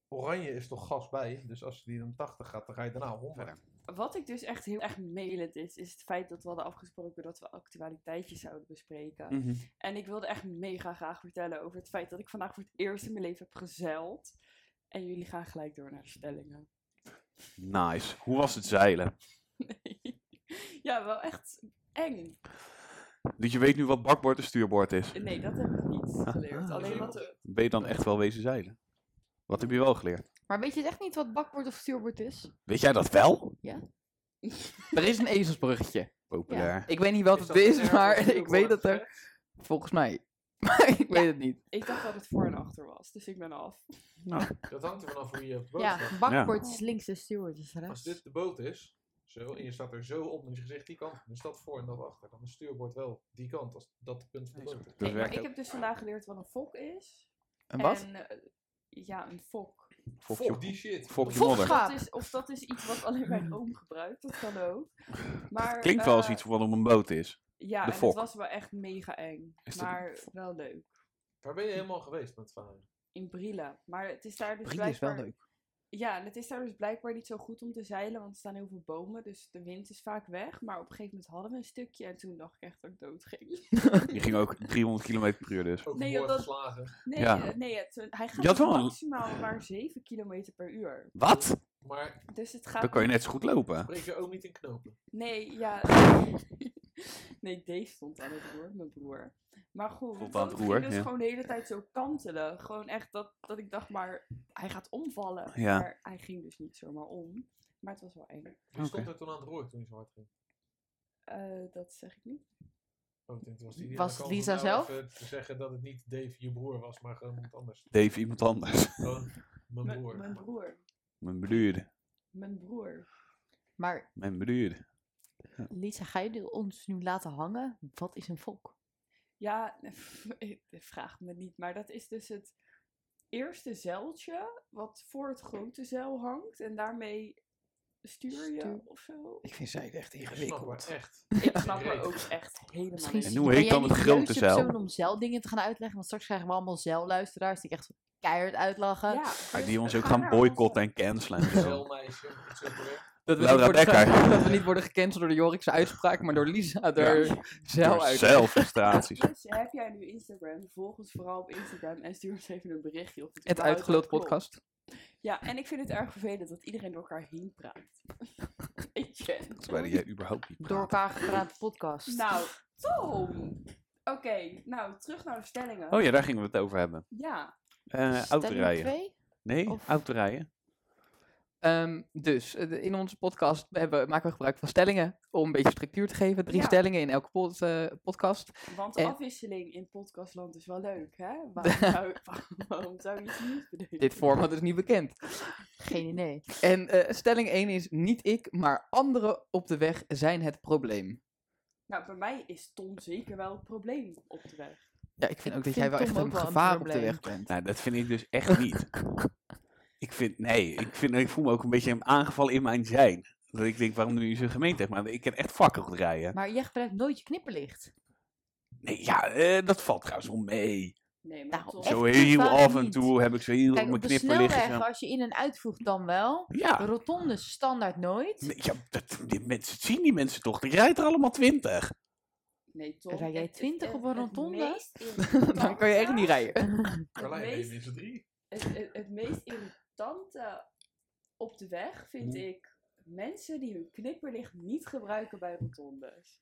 Speaker 6: Oranje is toch gas bij, dus als die dan 80 gaat, dan ga je daarna 100.
Speaker 3: Wat ik dus echt heel erg melend is, is het feit dat we hadden afgesproken dat we actualiteitjes zouden bespreken.
Speaker 7: Mhm.
Speaker 3: En ik wilde echt mega graag vertellen over het feit dat ik vandaag voor het eerst in mijn leven heb gezeild. En jullie gaan gelijk door naar de stellingen.
Speaker 7: Nice. Hoe was het zeilen?
Speaker 3: ja, wel echt eng.
Speaker 7: Dus je weet nu wat bakbord en stuurboord is.
Speaker 3: Nee, dat heb ik niet geleerd.
Speaker 7: ah.
Speaker 3: Alleen wat we-
Speaker 7: Ben je dan echt wel wezen zeilen? Wat heb je wel geleerd?
Speaker 5: Maar weet je echt niet wat bakbord of stuurboord is?
Speaker 7: Weet jij dat wel?
Speaker 1: Er is een ezelsbruggetje.
Speaker 7: Populair.
Speaker 1: Ik weet niet wat het is, maar ik weet dat er. Volgens mij. Maar ik weet het niet.
Speaker 3: ik dacht dat het voor en achter was, dus ik ben af.
Speaker 6: Dat hangt er vanaf hoe je op de boot staat.
Speaker 5: Ja, bakbord is links en stuurboord is
Speaker 6: Als
Speaker 5: rechts.
Speaker 6: dit de boot is, zo, en je staat er zo op met je gezicht die kant, dus dat voor en dat achter, dan is het stuurbord wel die kant, als dat de punt van de boot is.
Speaker 7: Dat
Speaker 3: Nee, maar
Speaker 7: werkt
Speaker 3: ik
Speaker 7: ook.
Speaker 3: heb dus vandaag geleerd wat een fok is.
Speaker 1: En wat?
Speaker 3: En, eh, ja, een fok.
Speaker 7: Fok
Speaker 6: Fuck
Speaker 7: je,
Speaker 6: die shit.
Speaker 7: fok je
Speaker 5: Fok
Speaker 7: modder.
Speaker 5: gaat.
Speaker 3: Dat
Speaker 5: Gaap.
Speaker 3: is, of dat is iets wat alleen mijn oom gebruikt, dat kan ook. Maar,
Speaker 7: Klinkt wel als
Speaker 3: eh,
Speaker 7: iets wat op een boot is.
Speaker 3: Ja,
Speaker 7: de
Speaker 3: en
Speaker 7: fok.
Speaker 3: het was wel echt mega eng.
Speaker 7: Is dat-
Speaker 3: maar wel leuk.
Speaker 6: Waar ben je helemaal geweest met varen?
Speaker 3: In Brille. Maar het is daar dus
Speaker 1: Brille is wel
Speaker 3: blijkbaar...
Speaker 1: leuk.
Speaker 3: Ja, en het is daar dus blijkbaar niet zo goed om te zeilen, want er staan heel veel bomen, dus de wind is vaak weg. Maar op een gegeven moment hadden we een stukje en toen dacht ik echt dat ik dood ging.
Speaker 7: Je ging ook 300 km per uur dus.
Speaker 6: Ook
Speaker 3: Nee,
Speaker 6: nee,
Speaker 3: joh, dat-
Speaker 6: geslagen.
Speaker 3: Nee,
Speaker 7: Ja.
Speaker 3: eh, nee het, hij
Speaker 7: Je had
Speaker 3: gaat
Speaker 7: wel een-
Speaker 3: maximaal maar 7 km per uur.
Speaker 7: Wat?
Speaker 6: Maar
Speaker 3: Dus het gaat...
Speaker 7: Dan kan je net zo goed lopen.
Speaker 6: breek je ook niet in knopen.
Speaker 3: Nee, ja... nee, Dave stond aan het roer, mijn broer. Maar goed,
Speaker 7: Stond aan het
Speaker 3: dat
Speaker 7: roer,
Speaker 3: ging dus
Speaker 7: ja.
Speaker 3: gewoon de hele tijd zo kantelen. Gewoon echt dat, dat ik dacht maar, hij gaat omvallen.
Speaker 7: Ja.
Speaker 3: Maar hij ging dus niet zomaar om. Maar het was wel eng.
Speaker 6: Je
Speaker 7: Oké.
Speaker 6: stond er toen aan het roer toen je zo hard ging.
Speaker 3: Eh, dat zeg ik niet.
Speaker 6: Oh, ik denk, het was de
Speaker 5: Was
Speaker 6: ideale kans
Speaker 5: het
Speaker 6: om
Speaker 5: Lisa
Speaker 6: nou
Speaker 5: zelf?
Speaker 6: even te zeggen dat het niet Dave je broer was, maar gewoon iemand anders.
Speaker 7: Dave, iemand anders.
Speaker 6: Gewoon mijn
Speaker 3: Mijn-
Speaker 6: broer.
Speaker 3: Mijn broer.
Speaker 7: Mijn broer.
Speaker 3: Mijn broer.
Speaker 5: Maar
Speaker 7: Mijn broer.
Speaker 5: Lisa, ga je ons nu laten hangen? Wat is een fok?
Speaker 3: Ja, vraag me niet. Maar dat is dus het eerste zeiltje wat voor het grote zeil hangt. En daarmee stuur je
Speaker 5: Stuur.
Speaker 3: of zo.
Speaker 1: Ik vind zij echt
Speaker 6: Ik snap maar echt.
Speaker 3: Ik snap er
Speaker 6: Reet.
Speaker 3: ook echt helemaal
Speaker 5: Misschien
Speaker 7: En
Speaker 3: niet.
Speaker 7: hoe
Speaker 5: ben
Speaker 7: heet
Speaker 5: jij
Speaker 7: dan
Speaker 5: niet
Speaker 7: het
Speaker 5: de
Speaker 7: grote
Speaker 5: juiste
Speaker 7: zeil?
Speaker 5: persoon om zeildingen te gaan uitleggen, want straks krijgen we allemaal zeilluisteraars die echt keihard uitlachen.
Speaker 3: Ja,
Speaker 7: Maar
Speaker 3: dus
Speaker 7: die ons ook
Speaker 3: ga
Speaker 7: gaan
Speaker 3: naar onze-
Speaker 7: boycotten en cancelen. en zo.
Speaker 6: Zelmeisje, iets zo weer.
Speaker 1: Dat we,
Speaker 7: Laura
Speaker 1: niet worden ge-
Speaker 7: Dekker.
Speaker 1: dat we niet worden gecanceld door de Jorikse uitspraak, maar door Lisa, door
Speaker 7: Door
Speaker 1: zeil uit.
Speaker 7: zeilfrustraties.
Speaker 3: Dus heb jij nu Instagram? Volg ons vooral op Instagram en stuur ons even een berichtje. Of het
Speaker 1: Het
Speaker 3: überhaupt
Speaker 1: uitgeluld
Speaker 3: klopt.
Speaker 1: podcast.
Speaker 3: Ja, en ik vind het erg vervelend dat iedereen door elkaar heen praat. Etienne.
Speaker 7: Terwijl je eh, überhaupt niet
Speaker 5: Door
Speaker 7: praat.
Speaker 5: elkaar gepraat podcast.
Speaker 3: Nou, Tom! Oké, nou, terug naar de stellingen.
Speaker 7: Oh ja, daar gingen we het over hebben.
Speaker 3: Ja,
Speaker 7: Eh
Speaker 5: Stelling
Speaker 7: autorijden.
Speaker 5: twee?
Speaker 7: Nee,
Speaker 5: Of-
Speaker 7: autorijden.
Speaker 1: Ehm, dus eh, de- in onze podcast hebben, maken we gebruik van stellingen om een beetje structuur te geven. Drie
Speaker 3: Ja.
Speaker 1: stellingen in elke pod- eh, podcast.
Speaker 3: want
Speaker 5: Eh,
Speaker 1: En-
Speaker 3: afwisseling in podcastland is wel leuk, hè? Waarom zou, waarom zou je iets nieuws bedenken?
Speaker 1: Dit format is niet bekend.
Speaker 5: Geen idee.
Speaker 1: En eh, stelling 1 is niet ik, maar anderen op de weg zijn het probleem.
Speaker 3: Nou, bij mij is Tom zeker wel een probleem op de weg.
Speaker 1: Ja, ik vind
Speaker 5: Ik
Speaker 1: ook dat
Speaker 5: vind
Speaker 1: jij wel
Speaker 5: Tom
Speaker 1: echt
Speaker 5: ook
Speaker 1: een
Speaker 5: wel een
Speaker 1: gevaar op de
Speaker 5: probleem.
Speaker 1: weg bent.
Speaker 7: Nou, dat vind ik dus echt niet. Ik vind, nee, ik, vind, ik voel me ook een beetje aangevallen in mijn zijn. Dat ik denk, waarom doe je zo'n gemeente? Maar ik kan echt fucking goed rijden.
Speaker 5: Maar jij gebruikt nooit je knipperlicht.
Speaker 2: Nee, ja, eh, dat valt trouwens wel mee.
Speaker 3: Nee, maar
Speaker 5: Nou,
Speaker 3: toch.
Speaker 5: echt
Speaker 2: Zo
Speaker 5: niet,
Speaker 2: heel
Speaker 5: vaak
Speaker 2: af en
Speaker 5: niet.
Speaker 2: toe heb ik zo heel
Speaker 5: Kijk,
Speaker 2: mijn
Speaker 5: op de
Speaker 2: knipper liggen.
Speaker 5: snelweg,
Speaker 2: zo.
Speaker 5: als je in en uitvoegt, dan wel.
Speaker 7: Ah.
Speaker 2: Ja,
Speaker 5: Rotonde standaard nooit.
Speaker 2: nee, ja dat, die mensen, dat zien die mensen toch? Die rijdt er allemaal twintig.
Speaker 3: Nee, toch.
Speaker 5: Rij jij
Speaker 3: Het is
Speaker 5: 20 op
Speaker 3: echt
Speaker 5: een
Speaker 3: het
Speaker 5: rotonde?
Speaker 3: meest
Speaker 1: Dan kan je echt niet rijden.
Speaker 6: Carlijn, ben je
Speaker 3: meest-
Speaker 6: minstens drie?
Speaker 3: het, het, het meest irritante op de weg vind ik mensen die hun knipperlicht niet gebruiken bij rotondes.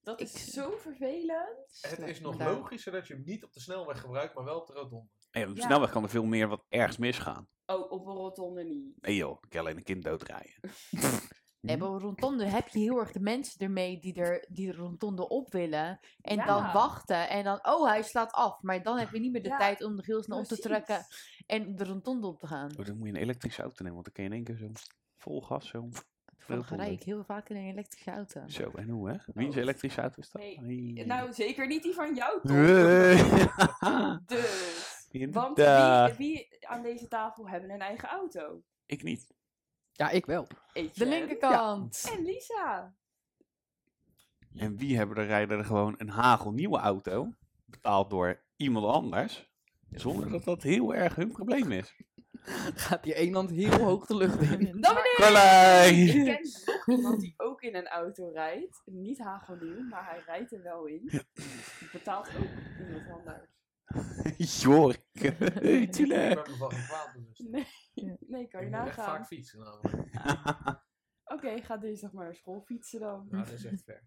Speaker 3: Dat is
Speaker 5: Ik-
Speaker 3: zo vervelend.
Speaker 6: Het
Speaker 5: Slaat
Speaker 6: is
Speaker 5: me
Speaker 6: nog
Speaker 5: daar.
Speaker 6: logischer dat je hem niet op de snelweg gebruikt, maar wel op de rotonde.
Speaker 2: Nee, op de
Speaker 3: Ja.
Speaker 2: snelweg kan er veel meer wat ergens misgaan.
Speaker 3: Oh, op een rotonde niet.
Speaker 2: Nee joh, ik kan alleen een kind doodrijden.
Speaker 5: Nee, maar rondom heb je heel erg de mensen ermee die er die de rotonde op willen. En
Speaker 3: Ja.
Speaker 5: dan wachten. En dan, oh, hij slaat af. Maar dan heb je niet meer de
Speaker 3: Ja,
Speaker 5: tijd om de heel snel op te
Speaker 3: Precies.
Speaker 5: trekken en de rotonde op te gaan.
Speaker 2: Oh, dan moet je een elektrische auto nemen, want dan kun je in één keer zo vol gas zo.
Speaker 5: Toevallig
Speaker 2: rotonde.
Speaker 5: rij ik heel vaak in een elektrische auto.
Speaker 2: Zo, en hoe hè? Wiens
Speaker 3: Oh.
Speaker 2: elektrische auto is dat?
Speaker 3: Nee,
Speaker 2: Hey.
Speaker 3: Nou, zeker niet die van jou, toch?
Speaker 2: Hey.
Speaker 3: Dus. Want
Speaker 2: Inderdaad.
Speaker 3: wie, wie aan deze tafel hebben een eigen auto?
Speaker 2: Ik niet.
Speaker 1: Ja, ik wel.
Speaker 5: De
Speaker 3: Etienne
Speaker 5: linkerkant.
Speaker 3: En Lisa.
Speaker 2: En wie hebben de rijder er gewoon een hagelnieuwe auto, betaald door iemand anders, zonder dat dat heel erg hun probleem is?
Speaker 1: Gaat die een hand heel hoog de lucht in.
Speaker 3: Dan ben ik. Ik
Speaker 2: Carlijn!
Speaker 3: ken nog iemand die ook in een auto rijdt. Niet hagelnieuw, maar hij rijdt er wel in. Betaalt ook iemand anders.
Speaker 2: Jork! Hey,
Speaker 6: Ik
Speaker 2: Tule!
Speaker 6: ben me wel geen kwaad bewust.
Speaker 3: Nee, nee kan je
Speaker 6: Ik moet echt
Speaker 3: nagaan.
Speaker 6: vaak fietsen namelijk.
Speaker 3: Oké, ga dinsdag maar naar school fietsen dan.
Speaker 6: Nou, dat is echt ver.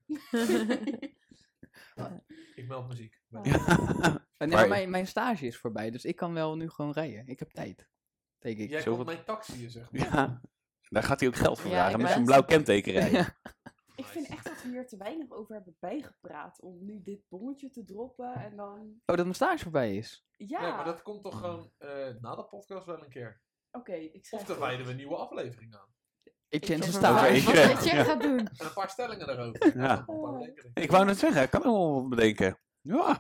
Speaker 6: Ik meld muziek.
Speaker 3: Ah.
Speaker 1: En
Speaker 2: Maar-
Speaker 1: mijn, mijn stage is voorbij, dus ik kan wel nu gewoon rijden. Ik heb tijd. Denk ik.
Speaker 6: Jij
Speaker 2: zo
Speaker 6: komt
Speaker 2: wat-
Speaker 6: mijn taxiën, zeg maar.
Speaker 2: Ja, daar gaat hij ook geld voor
Speaker 5: Ja,
Speaker 2: vragen,
Speaker 5: ik
Speaker 2: met
Speaker 5: ben-
Speaker 2: zo'n blauw kenteken rijden.
Speaker 1: Ja.
Speaker 3: Ik vind echt dat we hier te weinig over hebben bijgepraat. Om nu dit bonnetje te droppen en dan...
Speaker 1: Oh, dat mijn stage voorbij is.
Speaker 3: Ja,
Speaker 6: Nee, maar dat komt toch gewoon eh, na de podcast wel een keer.
Speaker 3: oké. ik schrijf
Speaker 6: Of dan
Speaker 3: het op.
Speaker 6: wijden we een nieuwe aflevering aan.
Speaker 1: Ik change
Speaker 5: Wat
Speaker 1: mijn
Speaker 2: verbaasd.
Speaker 1: stage.
Speaker 2: Oké.
Speaker 5: wat
Speaker 2: Ja.
Speaker 5: dat je gaat doen.
Speaker 6: En een paar stellingen daarover.
Speaker 2: Ja.
Speaker 6: Een paar bedenkingen.
Speaker 2: Ik wou net zeggen, ik kan er wel wat bedenken. Ja,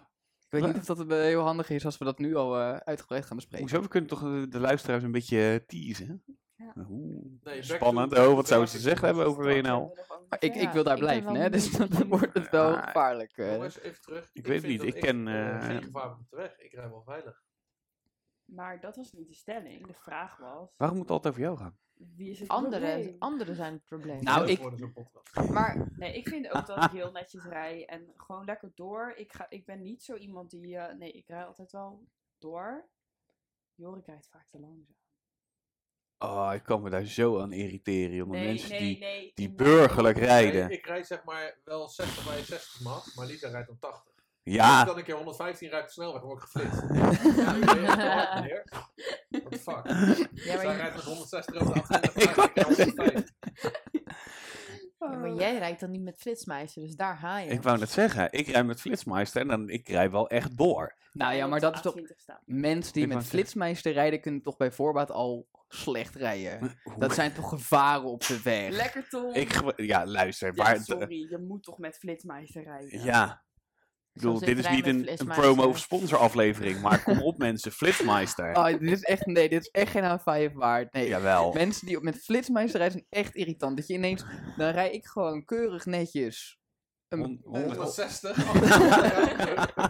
Speaker 1: Ik weet niet of dat eh, heel handig is als we dat nu al eh, uitgebreid gaan bespreken.
Speaker 2: hoezo? We kunnen toch eh, de luisteraars een beetje eh, teasen?
Speaker 3: Ja.
Speaker 2: Oeh,
Speaker 6: Nee, back
Speaker 2: Spannend.
Speaker 6: to-
Speaker 2: Oh, wat zouden ze
Speaker 6: back
Speaker 2: te
Speaker 6: to-
Speaker 2: zeggen hebben over
Speaker 3: Dat
Speaker 2: WNL?
Speaker 3: hebben we nog allemaal
Speaker 1: Maar ik,
Speaker 3: gezegd.
Speaker 1: ik wil daar
Speaker 5: ik ben
Speaker 1: blijven,
Speaker 5: wel
Speaker 1: hè? Dus
Speaker 5: benieuwd.
Speaker 1: dan wordt het wel
Speaker 2: Ja.
Speaker 1: gevaarlijk. eh.
Speaker 6: Jongens, even terug.
Speaker 2: Ik weet
Speaker 6: vind
Speaker 2: niet,
Speaker 6: dat
Speaker 2: ik ken,
Speaker 6: eh,
Speaker 2: eh,
Speaker 6: geen gevaar op de weg. Ik rij wel veilig.
Speaker 3: Maar dat was niet de stelling. De vraag was...
Speaker 2: Waarom moet het altijd over jou gaan?
Speaker 3: Wie is het
Speaker 5: Anderen,
Speaker 3: probleem?
Speaker 5: anderen zijn het probleem.
Speaker 1: Nou,
Speaker 6: Leuk
Speaker 1: ik-
Speaker 6: worden, zo'n podcast.
Speaker 5: maar
Speaker 3: Nee, ik vind ook dat ik heel netjes rij. En gewoon lekker door. Ik, ga, ik ben niet zo iemand die... eh, nee, ik rij altijd wel door. Jorik rijdt vaak te langzaam.
Speaker 2: Oh, ik kan me daar zo aan irriteren, joh. De mensen die,
Speaker 3: nee.
Speaker 2: die
Speaker 3: nee.
Speaker 2: burgerlijk rijden.
Speaker 6: Nee, ik rijd zeg maar wel 60 bij 60 max, maar Lisa rijdt dan 80. Als ik
Speaker 2: Ja,
Speaker 6: dan een keer 115 rijd op de snelweg, dan word ik geflitst. ja, ik ben echt te hard, meneer. What the fuck?
Speaker 5: ja, maar
Speaker 6: Zij
Speaker 5: je-
Speaker 6: rijdt met 160 over de 28 ik rijd 150.
Speaker 5: Ja, maar jij rijdt dan niet met flitsmeister, dus daar ga je.
Speaker 2: ik wou net zeggen, ik rij met Flitsmeister en dan, ik rij wel echt door.
Speaker 1: nou ja,
Speaker 3: Op
Speaker 1: maar
Speaker 3: de
Speaker 1: dat is toch...
Speaker 3: 28 staan.
Speaker 1: Mensen die
Speaker 2: Ik
Speaker 1: met
Speaker 2: wou zeggen.
Speaker 1: flitsmeister rijden kunnen toch bij voorbaat al slecht rijden.
Speaker 2: Hoe-
Speaker 1: Dat zijn toch gevaren op de weg.
Speaker 3: Lekker Tom.
Speaker 2: ik, ge- ja, luister,
Speaker 3: Ja,
Speaker 2: waar...
Speaker 3: sorry, je moet toch met flitsmeister rijden.
Speaker 2: Ja. Ik bedoel,
Speaker 5: Zoals
Speaker 2: dit
Speaker 5: ik
Speaker 2: is
Speaker 5: rij
Speaker 2: niet
Speaker 5: met
Speaker 2: een, een
Speaker 5: Flitsmeister.
Speaker 2: promo of sponsor aflevering, maar kom op mensen, Flitsmeister.
Speaker 1: Oh, dit is echt, nee, dit is echt geen H5 waard. Nee.
Speaker 2: Jawel.
Speaker 1: Mensen die op- met flitsmeister rijden zijn echt irritant. Dat je ineens, dan rij ik gewoon keurig netjes.
Speaker 2: Hon-
Speaker 1: Een,
Speaker 2: honderd-
Speaker 6: 160.
Speaker 2: Oh.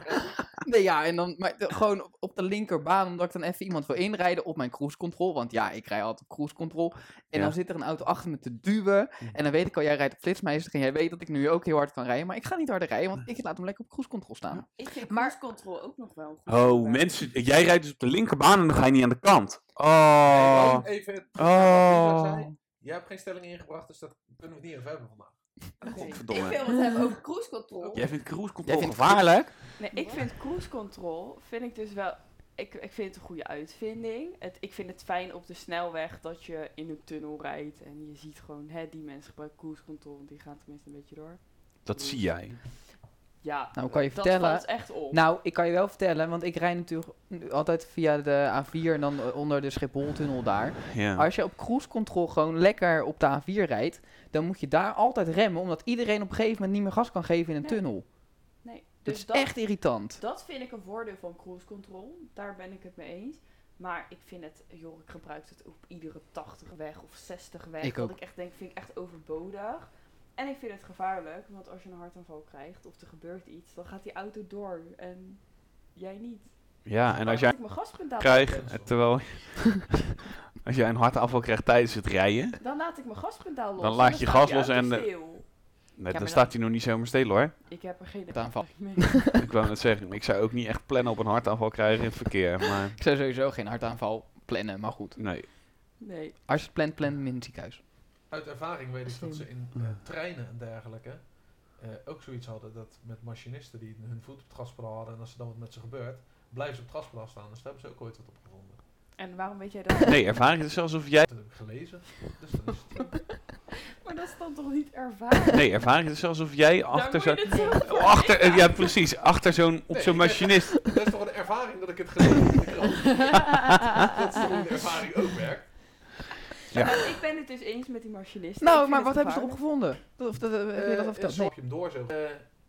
Speaker 1: nee, ja, en dan maar, de- gewoon op, op de linkerbaan, omdat ik dan even iemand wil inrijden op mijn cruise control. Want ja, ik rij altijd op cruise control. En
Speaker 2: Ja.
Speaker 1: dan zit er een auto achter me te duwen. En dan weet ik al, jij rijdt op flitsmeister. En jij weet dat ik nu ook heel hard kan rijden. Maar ik ga niet harder rijden, want ik laat hem lekker op cruise control staan.
Speaker 3: Ik vind
Speaker 5: Maar-
Speaker 3: maar... control ook nog wel een goed.
Speaker 2: Oh,
Speaker 3: voorbeeld.
Speaker 2: mensen, jij rijdt dus op de linkerbaan en dan ga je niet aan de kant. Oh,
Speaker 6: Even, wat Lisa
Speaker 2: oh.
Speaker 6: zei. jij hebt geen stelling ingebracht, dus dat kunnen we het niet even hebben vandaag.
Speaker 3: Oké.
Speaker 2: Godverdomme.
Speaker 3: Ik wil het hebben over cruise control.
Speaker 2: Jij vindt cruise control
Speaker 1: Jij vindt
Speaker 2: gevaarlijk?
Speaker 3: Nee, ik vind cruise control vind ik dus wel. Ik, ik vind het een goede uitvinding. Het, ik vind het fijn op de snelweg dat je in een tunnel rijdt en je ziet gewoon, hè, die mensen gebruiken cruise control, want die gaan tenminste een beetje door.
Speaker 2: Dat zie jij.
Speaker 3: Ja,
Speaker 1: Nou, kan je
Speaker 3: dat
Speaker 1: vertellen-
Speaker 3: valt echt op.
Speaker 1: Nou, ik kan je wel vertellen, want ik rijd natuurlijk altijd via de A4 en dan eh, onder de Schipholtunnel daar.
Speaker 2: Ja.
Speaker 1: Als je op cruise control gewoon lekker op de A4 rijdt, dan moet je daar altijd remmen, omdat iedereen op een gegeven moment niet meer gas kan geven in een
Speaker 3: Nee.
Speaker 1: tunnel.
Speaker 3: nee,
Speaker 1: Dat
Speaker 3: dus
Speaker 1: is
Speaker 3: dat,
Speaker 1: echt irritant.
Speaker 3: dat vind ik een voordeel van cruise control. Daar ben ik het mee eens. Maar ik vind het, joh, ik gebruik het op iedere 80 weg of 60 weg.
Speaker 1: Ik
Speaker 3: wat
Speaker 1: ook.
Speaker 3: ik echt denk, vind ik echt overbodig. En ik vind het gevaarlijk, want als je een hartaanval krijgt of er gebeurt iets, dan gaat die auto door en jij niet.
Speaker 2: Ja, en als jij
Speaker 3: ik mijn gaspedaal
Speaker 2: krijgt, eh, terwijl... als jij een hartaanval krijgt tijdens het rijden...
Speaker 3: Dan laat ik mijn gaspedaal los.
Speaker 2: Dan
Speaker 3: en
Speaker 2: laat je
Speaker 3: staat
Speaker 2: gas
Speaker 3: die
Speaker 2: los
Speaker 3: auto
Speaker 2: en, eh,
Speaker 3: stil.
Speaker 2: Nee, dan,
Speaker 5: maar
Speaker 2: staat hij nog niet zomaar stil hoor.
Speaker 3: Ik heb er geen
Speaker 1: Hartaanval.
Speaker 3: ervaring mee.
Speaker 2: ik wou net zeggen, ik zou ook niet echt plannen op een hartaanval krijgen in het verkeer. Maar
Speaker 1: Ik zou sowieso geen hartaanval plannen, maar goed.
Speaker 2: nee.
Speaker 3: Nee.
Speaker 1: Als je het plant, plant hem in het ziekenhuis.
Speaker 6: Uit ervaring weet ik dat ze in eh, treinen en dergelijke eh, ook zoiets hadden dat met machinisten die hun voet op het gaspedaal hadden en als er dan wat met ze gebeurt, blijven ze op het gaspedaal staan. Dus daar hebben ze ook ooit wat op gevonden.
Speaker 3: En waarom weet jij dat?
Speaker 2: Nee, ervaring is alsof jij.
Speaker 6: Dat heb ik gelezen. Dus dat is het.
Speaker 3: Maar dat is dan toch niet ervaring?
Speaker 2: Nee, ervaring is alsof jij
Speaker 3: Daar
Speaker 2: achter
Speaker 3: moet je
Speaker 2: zo'n.
Speaker 3: dit zelf voor
Speaker 2: Achter, eh,
Speaker 3: weten.
Speaker 2: ja, precies. Achter zo'n. Op
Speaker 6: Nee,
Speaker 2: zo'n
Speaker 6: ik heb-
Speaker 2: machinist.
Speaker 6: dat is toch een ervaring dat ik het gelezen heb in de krant? Dat is toch hoe de ervaring ook werkt?
Speaker 3: Nou, ik ben het dus eens met die machinisten. Ik
Speaker 1: Nou,
Speaker 3: vind
Speaker 1: maar
Speaker 3: het
Speaker 1: wat hebben ze
Speaker 3: gevaarlijk.
Speaker 1: opgevonden? Of dat, eh, wil je dat
Speaker 6: Eh,
Speaker 1: al vertellen?
Speaker 6: eh, zo heb je hem door zo. Eh,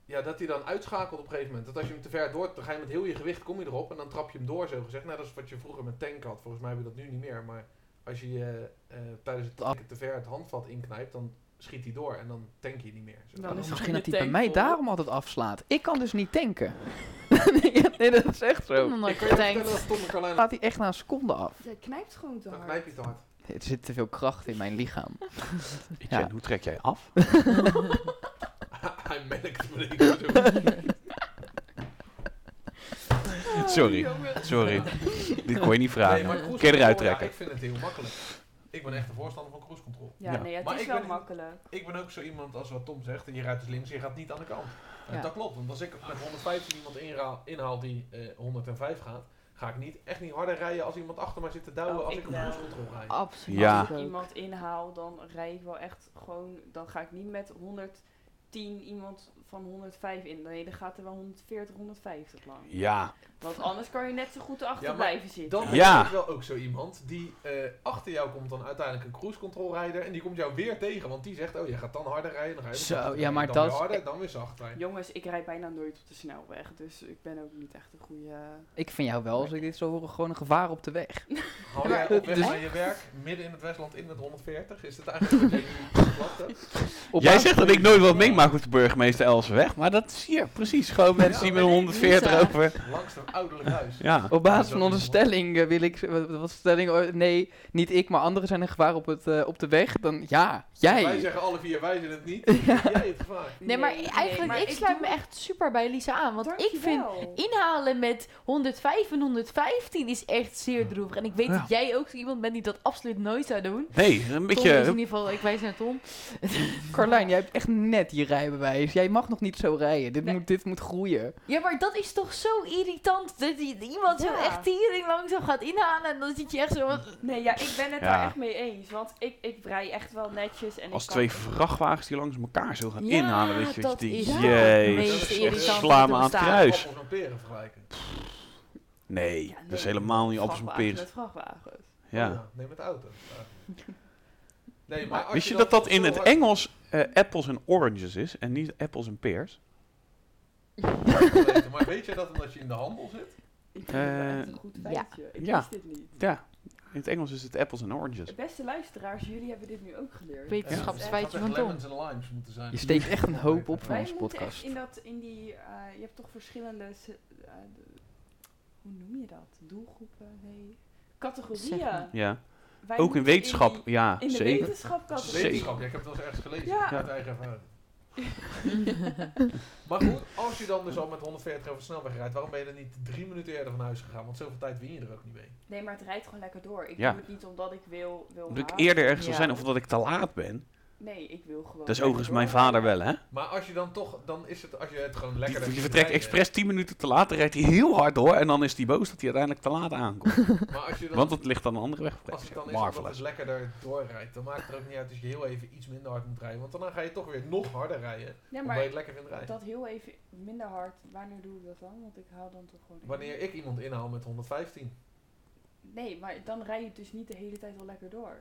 Speaker 6: ja, dat hij dan uitschakelt op een gegeven moment. Dat als je hem te ver door, dan ga je met heel je gewicht kom je erop en dan trap je hem door zo gezegd. Nou, dat is wat je vroeger met tank had. Volgens mij hebben we dat nu niet meer. Maar als je eh, eh, tijdens het tanken te ver het handvat inknijpt, dan schiet hij door en dan tank je niet meer. Zo.
Speaker 3: Dan
Speaker 1: Oh,
Speaker 3: is
Speaker 1: misschien
Speaker 3: het
Speaker 1: dat hij bij
Speaker 3: tank
Speaker 1: mij
Speaker 3: vol.
Speaker 1: daarom altijd afslaat. Ik kan dus niet tanken. nee, nee, dat is echt
Speaker 5: Ik heb
Speaker 1: zo.
Speaker 3: Mm.
Speaker 5: nog
Speaker 6: ik
Speaker 5: nooit
Speaker 6: kan je vertellen
Speaker 5: getankt.
Speaker 6: dat Tom en Carlijn...
Speaker 1: Laat hij echt na een seconde af.
Speaker 3: Jij knijpt gewoon te
Speaker 6: Dan
Speaker 3: hard.
Speaker 6: knijp je te hard.
Speaker 1: Er zit te veel kracht in mijn lichaam.
Speaker 2: Etienne,
Speaker 1: Ja.
Speaker 2: hoe trek jij af?
Speaker 6: Hij melkt me niet zo.
Speaker 3: Oh,
Speaker 2: Sorry.
Speaker 3: jongen.
Speaker 2: Sorry. Dit kon je niet
Speaker 6: Nee,
Speaker 2: vragen.
Speaker 6: maar
Speaker 2: Kun
Speaker 6: cruise
Speaker 2: je eruit
Speaker 6: control, ja,
Speaker 2: trekken.
Speaker 6: ik vind het heel makkelijk. Ik ben echt een voorstander van cruise control.
Speaker 3: Ja,
Speaker 2: Ja.
Speaker 3: nee, het
Speaker 6: Maar
Speaker 3: is
Speaker 6: ik
Speaker 3: wel
Speaker 6: ben-
Speaker 3: makkelijk.
Speaker 6: Ik ben ook zo iemand als wat Tom zegt, je rijdt dus links, je gaat niet aan de kant. En
Speaker 5: Ja.
Speaker 6: dat klopt, want als ik met 115 iemand inra- inhaal die eh, 105 gaat, ga ik niet, echt niet harder rijden als iemand achter mij zit te duwen
Speaker 3: Oh,
Speaker 6: als
Speaker 3: ik
Speaker 6: ik op
Speaker 3: wel.
Speaker 6: cruise control rijd.
Speaker 5: Absoluut.
Speaker 2: Ja.
Speaker 3: Als ik iemand inhaal, dan rijd ik wel echt gewoon... Dan ga ik niet met 110 iemand van 105 in. Nee, dan gaat er wel 140, 150 lang.
Speaker 2: Ja.
Speaker 3: Want anders kan je net zo goed erachter
Speaker 6: Ja, maar
Speaker 3: blijven zitten.
Speaker 6: Dan
Speaker 2: Ja.
Speaker 6: ben je wel ook zo iemand die eh, achter jou komt dan uiteindelijk een cruise control rijder en die komt jou weer tegen, want die zegt, oh je gaat dan harder rijden, dan ga je nog
Speaker 1: Zo,
Speaker 6: zachter
Speaker 1: ja,
Speaker 6: rijden,
Speaker 1: maar
Speaker 6: dan
Speaker 1: dat
Speaker 6: weer
Speaker 1: is-
Speaker 6: harder, dan weer zachter.
Speaker 3: Jongens, ik rijd bijna nooit op de snelweg. Dus ik ben ook niet echt een goede...
Speaker 1: Ik vind jou wel, als ik dit zo hoor, gewoon een gevaar op de weg.
Speaker 6: Hou jij op weg
Speaker 1: Dus-
Speaker 6: naar je werk, midden in het Westland in het 140, is dat eigenlijk wat je platte?
Speaker 1: Op
Speaker 2: Jij
Speaker 1: aan-
Speaker 2: zegt dat ik nooit wat meemaak op de burgemeester Elsenweg. Maar dat is hier precies. Gewoon mensen die met
Speaker 5: Ja.
Speaker 2: 140
Speaker 5: Ja.
Speaker 2: over.
Speaker 6: Langs een ouderlijk huis.
Speaker 2: Ja.
Speaker 1: Op basis
Speaker 6: Ja,
Speaker 1: van
Speaker 6: dat
Speaker 1: onze
Speaker 6: is mooi.
Speaker 1: stelling eh, wil ik... z- Wat wat was de stelling? Oh, Nee, niet ik, maar anderen zijn een gevaar op, het, eh, op de weg. Dan ja,
Speaker 6: Wij
Speaker 1: jij.
Speaker 6: zeggen alle vier, wij zijn het niet. Jij het gevaar.
Speaker 5: Nee, maar
Speaker 3: Nee,
Speaker 5: eigenlijk,
Speaker 3: nee, maar
Speaker 5: ik
Speaker 3: ik
Speaker 5: sluit
Speaker 3: doe-
Speaker 5: me echt super bij Lisa aan. Want ik vind
Speaker 3: Dankjewel.
Speaker 5: inhalen met 105 en 115 is echt zeer droevig. En ik weet
Speaker 2: Ja.
Speaker 5: dat jij ook zo iemand bent die dat absoluut nooit zou doen.
Speaker 2: Nee, een
Speaker 5: Tom is in
Speaker 2: beetje.
Speaker 5: ieder geval, ik wijs naar Tom.
Speaker 1: Carlijn, jij hebt echt net je rijbewijs. Jij mag nog niet zo rijden. Dit,
Speaker 5: Nee.
Speaker 1: moet, dit moet groeien.
Speaker 5: Ja, maar dat is toch zo irritant dat i- iemand zo
Speaker 3: Ja.
Speaker 5: echt tering langzaam gaat inhalen en dan zit je echt zo... wat-
Speaker 3: Nee, ja, ik ben het
Speaker 2: Ja.
Speaker 3: daar echt mee eens. Want ik, ik rij echt wel netjes. En
Speaker 2: Als
Speaker 3: ik kan-
Speaker 2: twee vrachtwagens die langs elkaar zo gaan
Speaker 5: Ja,
Speaker 2: inhalen. Weet je wat
Speaker 5: dat
Speaker 2: je denkt?
Speaker 5: is
Speaker 6: het
Speaker 2: Jezus.
Speaker 6: meest irritante
Speaker 2: Sla
Speaker 5: wat
Speaker 2: me
Speaker 5: er
Speaker 2: aan het
Speaker 5: bestaat.
Speaker 2: kruis.
Speaker 6: Appels en peren vergelijken.
Speaker 2: Nee,
Speaker 3: Ja, nee,
Speaker 2: dat is dus helemaal niet appels en
Speaker 3: vrachtwagens
Speaker 2: peren.
Speaker 3: Met vrachtwagens.
Speaker 6: Oh
Speaker 2: Ja.
Speaker 6: ja, Nee, met de auto. Nee, maar als
Speaker 2: Wist je dat dat in
Speaker 6: zo
Speaker 2: het
Speaker 6: hard-
Speaker 2: Engels eh, apples en oranges is en niet apples en peers?
Speaker 6: Nee, Maar weet je dat omdat je in de handel zit?
Speaker 3: Ik vind het wel
Speaker 2: Eh,
Speaker 3: echt een goed
Speaker 5: ja.
Speaker 3: feitje. Ik
Speaker 2: Ja.
Speaker 3: wist dit niet.
Speaker 2: Ja, in het Engels is het apples en oranges.
Speaker 3: Beste luisteraars, jullie hebben dit nu ook geleerd.
Speaker 5: Wetenschapsfeitje
Speaker 6: Ja,
Speaker 5: van
Speaker 6: het zou
Speaker 5: Tom.
Speaker 6: echt lemons and limes moeten zijn.
Speaker 1: Je steekt echt een hoop op van
Speaker 3: Wij
Speaker 1: onze
Speaker 3: moeten echt
Speaker 1: podcast.
Speaker 3: in dat, in die, eh, je hebt toch verschillende, se- eh, de- hoe noem je dat? Doelgroepen? Nee. Categorieën.
Speaker 5: Zeg maar.
Speaker 2: Ja,
Speaker 3: Wij
Speaker 2: ook
Speaker 3: moeten
Speaker 2: in wetenschap.
Speaker 3: die-
Speaker 2: Ja,
Speaker 3: in de
Speaker 2: zeker.
Speaker 3: wetenschap
Speaker 6: Dat is
Speaker 2: Zeker.
Speaker 3: categorie.
Speaker 6: wetenschap. Ja, ik heb het wel eens ergens gelezen.
Speaker 3: Ja.
Speaker 6: Uit eigen ervaring. maar goed, als je dan dus al met 140 over de snelweg rijdt, waarom ben je er niet drie minuten eerder van huis gegaan? Want zoveel tijd win je er ook niet mee.
Speaker 3: Nee, maar het rijdt gewoon lekker door. Ik
Speaker 2: Ja.
Speaker 3: doe het niet omdat ik wil, wil
Speaker 2: Dat ik
Speaker 3: haasten.
Speaker 2: eerder ergens zou
Speaker 5: Ja.
Speaker 2: zijn of dat ik te laat ben.
Speaker 3: Nee, ik wil gewoon
Speaker 2: Dat is
Speaker 3: lekker
Speaker 2: overigens mijn
Speaker 3: doorrijden.
Speaker 2: vader wel, hè?
Speaker 6: Maar als je dan toch, dan is het, als je het gewoon lekker...
Speaker 2: Die,
Speaker 6: hebt
Speaker 2: je
Speaker 6: rijden-
Speaker 2: vertrekt expres 10 minuten te laat, dan rijdt hij heel hard door en dan is hij boos dat hij uiteindelijk te laat aankomt.
Speaker 6: Maar als je dan
Speaker 2: Want het ligt aan een andere weg.
Speaker 6: Als het dan is dat het
Speaker 2: Marvelous.
Speaker 6: lekkerder doorrijdt, dan maakt het ook niet uit als je heel even iets minder hard moet rijden. Want daarna ga je toch weer nog harder rijden,
Speaker 3: Ja,
Speaker 6: omdat je
Speaker 3: maar
Speaker 6: het lekker vindt rijden.
Speaker 3: dat heel even minder hard. Wanneer doe ik dat dan? Want ik haal dan toch gewoon... in.
Speaker 6: Wanneer ik iemand inhaal met 115.
Speaker 3: Nee, maar dan rij je dus niet de hele tijd al lekker door.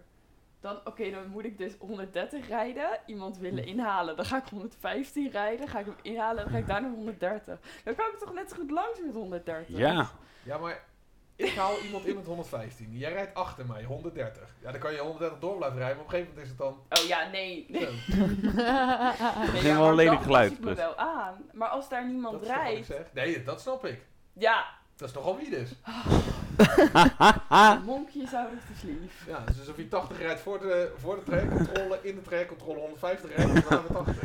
Speaker 3: Dan, oké, dan moet ik dus 130 rijden, iemand
Speaker 2: Hm.
Speaker 3: willen inhalen. Dan ga ik 115 rijden, ga ik hem inhalen, dan ga ik daarna 130. Dan kan ik toch net zo goed langs met 130.
Speaker 2: Ja,
Speaker 6: Ja, maar Ik haal iemand in met 115. Jij rijdt achter mij, 130. Ja, dan kan je 130 door blijven rijden, maar op een gegeven moment is het dan...
Speaker 3: Oh ja, nee. nee.
Speaker 6: Zo,
Speaker 2: is
Speaker 3: ja,
Speaker 2: wel
Speaker 3: maar
Speaker 2: een lelijk
Speaker 3: dan
Speaker 2: geluid,
Speaker 3: Pas ik me
Speaker 2: dus.
Speaker 3: wel aan. Maar als daar niemand
Speaker 6: dat is toch wat ik
Speaker 3: rijdt.
Speaker 6: zeg. Nee, dat snap ik.
Speaker 3: Ja,
Speaker 6: Dat is nogal wie dus.
Speaker 2: Ah.
Speaker 3: monkjes houden het lief.
Speaker 6: Ja, dus alsof je 80 rijdt voor de, voor de trajectcontrole, in de trajectcontrole 150 rijdt, en dan 80.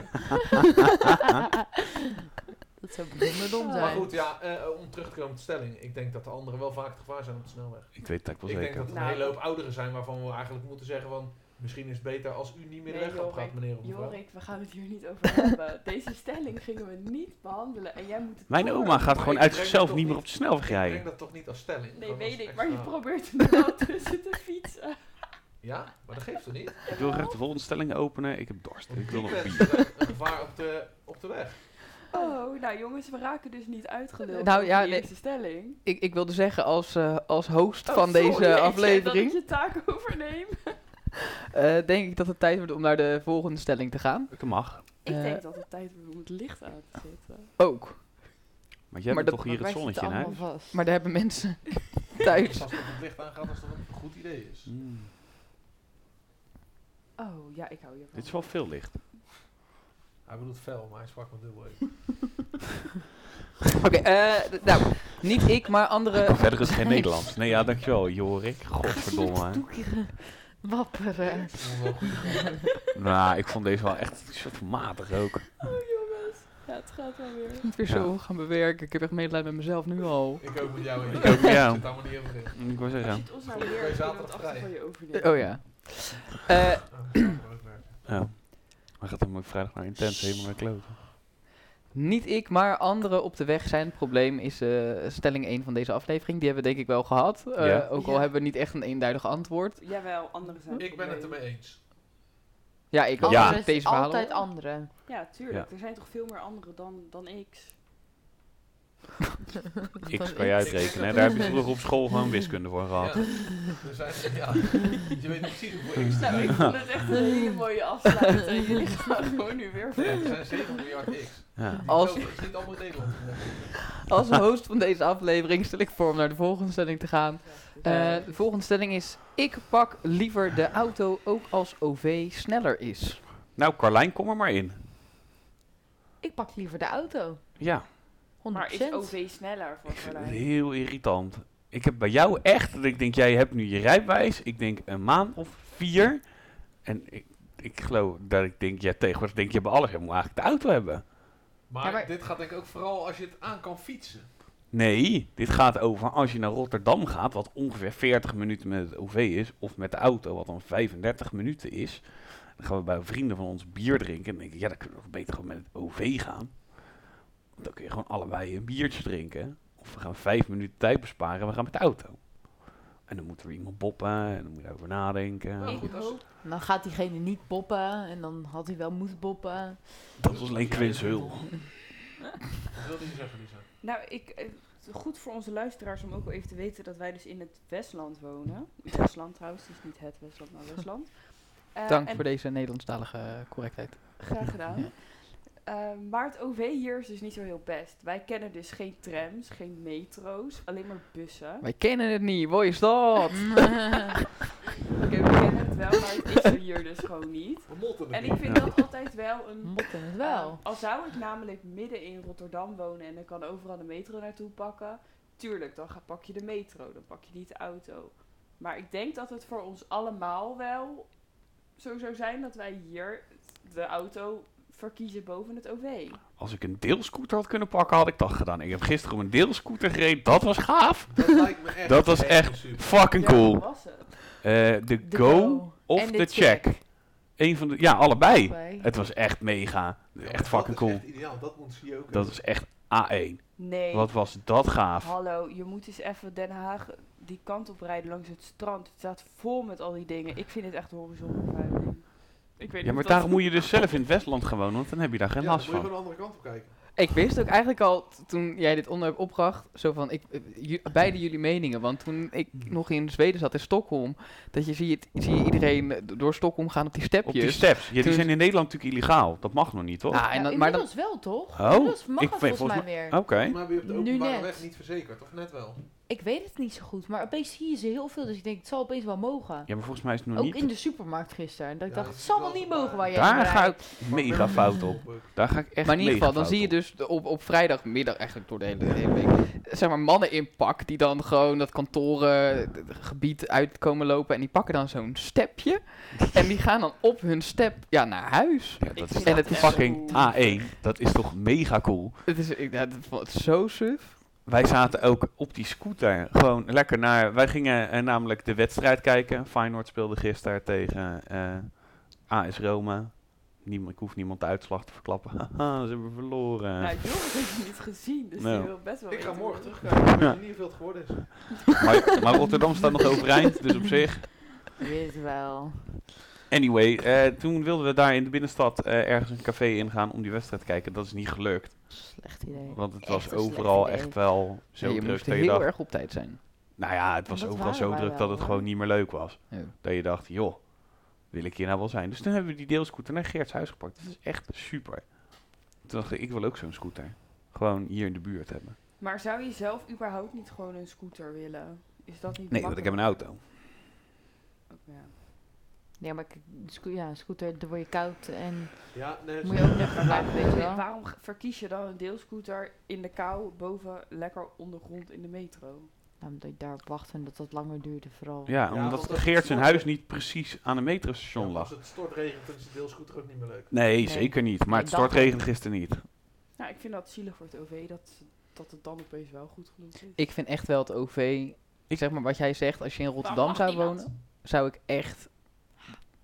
Speaker 5: Dat zou bijzonder dom
Speaker 6: Maar
Speaker 5: zijn.
Speaker 6: goed, ja, eh, om terug te komen op de stelling. Ik denk dat de anderen wel vaak het gevaar zijn op de snelweg.
Speaker 2: Ik weet dat ik wel
Speaker 6: ik denk
Speaker 2: zeker.
Speaker 6: dat er een
Speaker 3: Nou.
Speaker 6: hele hoop ouderen zijn waarvan we eigenlijk moeten zeggen van... Misschien is het beter als u niet meer de
Speaker 3: Nee,
Speaker 6: weg op gaat,
Speaker 3: Jorik.
Speaker 6: meneer of mevrouw.
Speaker 3: Jorik, we gaan het hier niet over hebben. Deze stelling gingen we niet behandelen. En jij moet het
Speaker 2: Mijn
Speaker 3: door.
Speaker 2: oma gaat
Speaker 6: Maar
Speaker 2: gewoon
Speaker 6: ik
Speaker 2: uit
Speaker 6: breng
Speaker 2: zichzelf
Speaker 6: dat
Speaker 2: niet
Speaker 6: toch
Speaker 2: meer op de snelweg
Speaker 6: Ik
Speaker 2: rijden.
Speaker 6: denk dat toch niet als stelling?
Speaker 3: Nee,
Speaker 6: dat
Speaker 3: weet
Speaker 6: was
Speaker 3: ik, maar je
Speaker 6: extra-
Speaker 3: probeert er wel tussen te fietsen.
Speaker 6: Ja, maar dat geeft toch niet?
Speaker 2: Ik wil graag de volgende stelling openen. Ik heb dorst.
Speaker 6: Want
Speaker 2: Ik wil nog
Speaker 6: die
Speaker 2: bier.
Speaker 6: mensen zijn een gevaar op de, op de weg.
Speaker 3: Oh, nou jongens, we raken dus niet uitgeluld
Speaker 1: Nou,
Speaker 3: nou,
Speaker 1: ja,
Speaker 3: ja,
Speaker 1: nee.
Speaker 3: deze stelling.
Speaker 1: Ik, ik wilde zeggen, als, eh, als host
Speaker 3: Oh,
Speaker 1: van
Speaker 3: sorry, ik
Speaker 1: deze
Speaker 3: zei
Speaker 1: aflevering,
Speaker 3: dat ik je taak overneem.
Speaker 1: eh, denk ik dat het tijd wordt om naar de volgende stelling te gaan.
Speaker 2: Dat mag.
Speaker 3: Ik
Speaker 1: Eh.
Speaker 3: denk dat het tijd wordt om het licht aan te zetten.
Speaker 1: Ook.
Speaker 2: Maar jij
Speaker 1: Maar
Speaker 2: hebt
Speaker 1: dat-
Speaker 2: toch hier het
Speaker 5: Waar zit
Speaker 2: zonnetje in
Speaker 5: allemaal
Speaker 2: huis?
Speaker 5: vast?
Speaker 1: Maar daar hebben mensen
Speaker 6: Dus
Speaker 1: thuis.
Speaker 6: als het op het licht aangaat, als dat een goed idee is.
Speaker 2: Mm.
Speaker 3: Oh, ja, ik hou hiervan.
Speaker 2: Dit is wel veel licht.
Speaker 6: Hij bedoelt fel, maar hij sprak met dubbel E.
Speaker 1: Oké, eh, d- nou, niet ik, maar andere...
Speaker 2: Verder is het geen Nederlands. Nee, ja, dankjewel, Jorik. Godverdomme. hè.
Speaker 5: Toekeren. Wapperen.
Speaker 6: Dat is wel goed.
Speaker 2: Nou, ik vond deze wel echt een soort van matig ook.
Speaker 3: Oh jongens, ja, het gaat wel weer.
Speaker 1: niet weer zo gaan bewerken. Ik heb echt medelijden met mezelf nu al.
Speaker 6: Ik ook met jou in.
Speaker 2: Ik ook met jou.
Speaker 6: Ik zit daar maar niet over in.
Speaker 2: Ik wou
Speaker 3: Als
Speaker 2: zeggen.
Speaker 3: je het ons nou
Speaker 6: Goed,
Speaker 3: weer
Speaker 6: wij
Speaker 3: hebt, kunnen we het
Speaker 6: zaterdag
Speaker 3: achter
Speaker 6: vrij.
Speaker 3: van je overnemen.
Speaker 1: Oh ja. Eh,
Speaker 6: Oh, dat zou ook werken.
Speaker 2: Ja. Maar gaat dan ook vrijdag naar intens helemaal naar kloten.
Speaker 1: niet ik, maar anderen op de weg zijn het probleem, is eh, stelling 1 van deze aflevering. Die hebben we denk ik wel gehad. Eh,
Speaker 2: Ja.
Speaker 1: Ook al
Speaker 3: Ja.
Speaker 1: hebben we niet echt een eenduidig antwoord.
Speaker 3: Jawel, anderen zijn
Speaker 6: Ik ben het
Speaker 3: probleem.
Speaker 6: ermee eens.
Speaker 1: Ja, ik ook.
Speaker 2: Ja.
Speaker 1: met Deze verhalen.
Speaker 5: Altijd anderen.
Speaker 3: Ja, tuurlijk. Er zijn toch veel meer anderen dan, dan ik.
Speaker 2: X kan je uitrekenen. hè. Daar heb je vroeger op school gewoon wiskunde voor
Speaker 6: Ja.
Speaker 2: gehad.
Speaker 6: Er zijn, ja. Je weet niet precies hoeveel X
Speaker 3: Nou, ik
Speaker 6: er
Speaker 3: vond het echt een hele mooie afsluiting. Jullie gaan gewoon nu weer
Speaker 6: zijn.
Speaker 3: verder.
Speaker 6: Er zijn 7 miljard X.
Speaker 2: Ja.
Speaker 1: Als-
Speaker 6: Het is niet allemaal in Nederland.
Speaker 1: Als host van deze aflevering stel ik voor om naar de volgende stelling te gaan. Eh, de volgende stelling is: Ik pak liever de auto ook als OV sneller is.
Speaker 2: Nou, Carlijn, kom er maar in.
Speaker 5: Ik pak liever de auto. 100%.
Speaker 2: Ja,
Speaker 5: 100%.
Speaker 3: Maar is OV sneller voor
Speaker 2: ik vind het
Speaker 3: Carlijn?
Speaker 2: heel irritant. Ik heb bij jou echt dat ik denk, jij hebt nu je rijbewijs. Ik denk een maand of vier. En ik, ik geloof dat ik denk, ja, tegenwoordig denk je bij alles. Je moet eigenlijk de auto hebben.
Speaker 6: Maar,
Speaker 5: Ja, maar-
Speaker 6: dit gaat denk ik ook vooral als je het aan kan fietsen.
Speaker 2: Nee, dit gaat over als je naar Rotterdam gaat, wat ongeveer 40 minuten met het OV is, of met de auto, wat dan 35 minuten is. Dan gaan we bij vrienden van ons bier drinken. En dan denk ik, ja, dan kunnen we nog beter gewoon met het OV gaan. Want dan kun je gewoon allebei een biertje drinken. Of we gaan vijf minuten tijd besparen en we gaan met de auto. En dan moet er iemand boppen en dan moet je over nadenken.
Speaker 6: Nou,
Speaker 3: Ik
Speaker 6: goed, als-
Speaker 3: hoop-
Speaker 5: En dan gaat diegene niet boppen. En dan had hij wel moeten boppen.
Speaker 2: Dat was alleen Quins Hul.
Speaker 6: Dat wilde je zeggen, Lisa.
Speaker 3: Nou, ik, eh, het is goed voor onze luisteraars om ook wel even te weten dat wij dus in het Westland wonen. Westland trouwens, het is niet het Westland, maar Westland. Eh,
Speaker 1: Dank
Speaker 3: en
Speaker 1: voor deze Nederlandstalige correctheid.
Speaker 3: Graag gedaan. Eh, maar het OV hier is dus niet zo heel best. Wij kennen dus geen trams, geen metro's, alleen maar bussen.
Speaker 1: Wij kennen het niet, wat is dat?
Speaker 5: Mm.
Speaker 3: Oké, we kennen het wel, maar het is er hier dus gewoon niet.
Speaker 6: We
Speaker 3: En
Speaker 6: motten het
Speaker 3: ik
Speaker 6: niet.
Speaker 3: vind
Speaker 2: Ja.
Speaker 3: dat altijd wel een
Speaker 5: Motten het wel.
Speaker 3: Eh, al zou ik namelijk midden in Rotterdam wonen en ik kan overal de metro naartoe pakken, tuurlijk, dan ga, pak je de metro, dan pak je niet de auto. Maar ik denk dat het voor ons allemaal wel zo zou zijn dat wij hier de auto verkiezen boven het OV.
Speaker 2: Als ik een deelscooter had kunnen pakken, had ik dat gedaan. Ik heb gisteren op een deelscooter gereden, dat was gaaf.
Speaker 6: Dat lijkt me echt
Speaker 2: Dat was
Speaker 6: heel
Speaker 2: echt
Speaker 6: super.
Speaker 2: Fucking
Speaker 3: Ja,
Speaker 2: cool.
Speaker 3: dat was het.
Speaker 2: Eh, de,
Speaker 5: De
Speaker 2: go,
Speaker 5: go
Speaker 2: of
Speaker 5: en
Speaker 2: de,
Speaker 5: de
Speaker 2: check.
Speaker 5: check.
Speaker 2: Eén van de, ja, allebei.
Speaker 5: Allebei.
Speaker 2: Het was echt mega.
Speaker 6: Ja,
Speaker 2: Echt fucking
Speaker 6: Dat
Speaker 2: cool.
Speaker 6: is echt ideaal, dat moet je ook.
Speaker 2: Dat
Speaker 6: hebben.
Speaker 2: is echt A1.
Speaker 3: Nee.
Speaker 2: Wat was dat gaaf.
Speaker 3: Hallo, je moet eens even Den Haag die kant op rijden langs het strand. Het staat vol met al die dingen. Ik vind het echt horizonvervuiling. Ik weet
Speaker 2: Ja,
Speaker 3: niet
Speaker 2: maar
Speaker 3: of dat-
Speaker 2: daarom moet je dus zelf in het Westland gaan wonen, want dan heb je daar geen
Speaker 6: Ja, dan
Speaker 2: last
Speaker 6: moet je gewoon
Speaker 2: van.
Speaker 6: de andere kant op kijken.
Speaker 1: Ik wist ook eigenlijk al t- toen jij dit onderwerp opbracht, zo van ik, eh, ju- beide jullie meningen. Want toen ik
Speaker 2: Hmm.
Speaker 1: nog in Zweden zat, in Stockholm, dat je ziet, zie je iedereen eh, door Stockholm gaan op die
Speaker 2: Op die
Speaker 1: stepjes.
Speaker 2: steps. Ja, die
Speaker 1: Toen-
Speaker 2: zijn in Nederland natuurlijk illegaal. Dat mag nog niet, toch?
Speaker 1: Ah, en dan- maar dan,
Speaker 5: inmiddels wel, toch?
Speaker 2: Oh,
Speaker 5: inmiddels mag
Speaker 2: ik
Speaker 5: het
Speaker 2: weet
Speaker 5: volgens mij
Speaker 2: volgens oh.
Speaker 5: weer.
Speaker 2: Oké.
Speaker 6: Maar ben je op de
Speaker 5: Nu
Speaker 6: openbare
Speaker 5: net.
Speaker 6: weg niet verzekerd, of net wel?
Speaker 5: Ik weet het niet zo goed, maar opeens zie je ze heel veel. Dus ik denk, het zal opeens wel mogen.
Speaker 2: Ja, maar volgens mij is het nog
Speaker 5: Ook
Speaker 2: niet.
Speaker 5: in de supermarkt gisteren. En dat ik
Speaker 6: Ja,
Speaker 5: dacht,
Speaker 6: je
Speaker 5: het
Speaker 6: ziet
Speaker 5: zal wel
Speaker 6: wel
Speaker 5: niet
Speaker 6: een
Speaker 5: mogen
Speaker 6: paar-
Speaker 5: waar jij
Speaker 2: Daar
Speaker 5: naar
Speaker 2: ga
Speaker 5: rijdt.
Speaker 2: ik mega fout op. Daar ga ik echt
Speaker 1: maar in ieder
Speaker 2: mega
Speaker 1: geval, dan
Speaker 2: fout
Speaker 1: zie je
Speaker 2: op.
Speaker 1: dus de- op, op vrijdagmiddag, eigenlijk door de hele, de hele week, zeg maar mannen in pak die dan gewoon dat kantorengebied uitkomen lopen en die pakken dan zo'n stepje en die gaan dan op hun step ja, naar huis.
Speaker 2: Ja, dat
Speaker 3: Ik
Speaker 2: is
Speaker 3: vind
Speaker 2: toch
Speaker 1: dat echt
Speaker 2: fucking
Speaker 3: zo-
Speaker 2: A1. Dat is toch mega cool.
Speaker 1: Het is, ik, ja, dat vond het zo suf.
Speaker 2: Wij zaten ook op die scooter gewoon lekker naar... Wij gingen eh, namelijk de wedstrijd kijken. Feyenoord speelde gisteren tegen eh, AS Roma. Niemand, ik hoef niemand de uitslag te verklappen. Haha, ze hebben verloren.
Speaker 3: Nou, Joris heeft het niet gezien, dus
Speaker 2: Nou.
Speaker 3: die wil best wel
Speaker 6: Ik ga
Speaker 3: weten
Speaker 6: morgen
Speaker 3: hoe-
Speaker 6: terugkijken. Ik weet niet hoeveel het geworden is.
Speaker 2: Maar, maar Rotterdam staat nog overeind, dus op zich.
Speaker 5: Je weet het wel.
Speaker 2: Anyway, eh, toen wilden we daar in de binnenstad eh, ergens een café ingaan om die wedstrijd te kijken. Dat is niet gelukt,
Speaker 5: Slecht idee.
Speaker 2: want het
Speaker 5: Echt een
Speaker 2: was
Speaker 5: slecht
Speaker 2: overal
Speaker 5: idee.
Speaker 2: echt wel zo
Speaker 1: Ja, je
Speaker 2: druk
Speaker 1: moest
Speaker 2: dat je dacht...
Speaker 1: heel erg op tijd zijn.
Speaker 2: Nou ja, het was
Speaker 5: dat
Speaker 2: overal
Speaker 5: waren
Speaker 2: zo
Speaker 5: wij
Speaker 2: druk
Speaker 5: wel,
Speaker 2: dat het
Speaker 5: hoor.
Speaker 2: gewoon niet meer leuk was.
Speaker 1: Ja.
Speaker 2: Dat je dacht, joh, wil ik hier nou wel zijn? Dus toen hebben we die deelscooter naar Geert's huis gepakt. Dat is echt super. Toen dacht ik, ik wil ook zo'n scooter. Gewoon hier in de buurt hebben.
Speaker 3: Maar zou je zelf überhaupt niet gewoon een scooter willen? Is dat niet
Speaker 2: Nee, want ik heb een auto.
Speaker 3: Ja.
Speaker 5: Ja, maar k- sco- ja, scooter, dan word je koud en
Speaker 6: Ja, nee, het is-
Speaker 5: moet je ook nog gaan blijven, weet je wel.
Speaker 3: Waarom g- verkies je dan een deelscooter in de kou boven lekker ondergrond in de metro?
Speaker 5: Nou, omdat je daarop wacht en dat dat langer duurde vooral.
Speaker 2: Ja,
Speaker 6: want
Speaker 2: omdat
Speaker 6: dat
Speaker 2: Geert zijn
Speaker 6: snap ik.
Speaker 2: huis niet precies aan een metrostation
Speaker 6: Ja,
Speaker 2: lag.
Speaker 6: Als het stortregent, dan is de deelscooter ook niet meer leuk.
Speaker 2: Nee, zeker niet. Maar
Speaker 5: Nee,
Speaker 2: het
Speaker 5: dat-
Speaker 2: stortregende gisteren niet.
Speaker 3: Nou, ik vind dat zielig voor het OV dat, ze- dat het dan opeens wel goed genoeg is.
Speaker 1: Ik vind echt wel het OV, ik zeg maar wat jij zegt, als je in Rotterdam
Speaker 3: mag
Speaker 1: zou
Speaker 3: niemand?
Speaker 1: wonen, zou ik echt,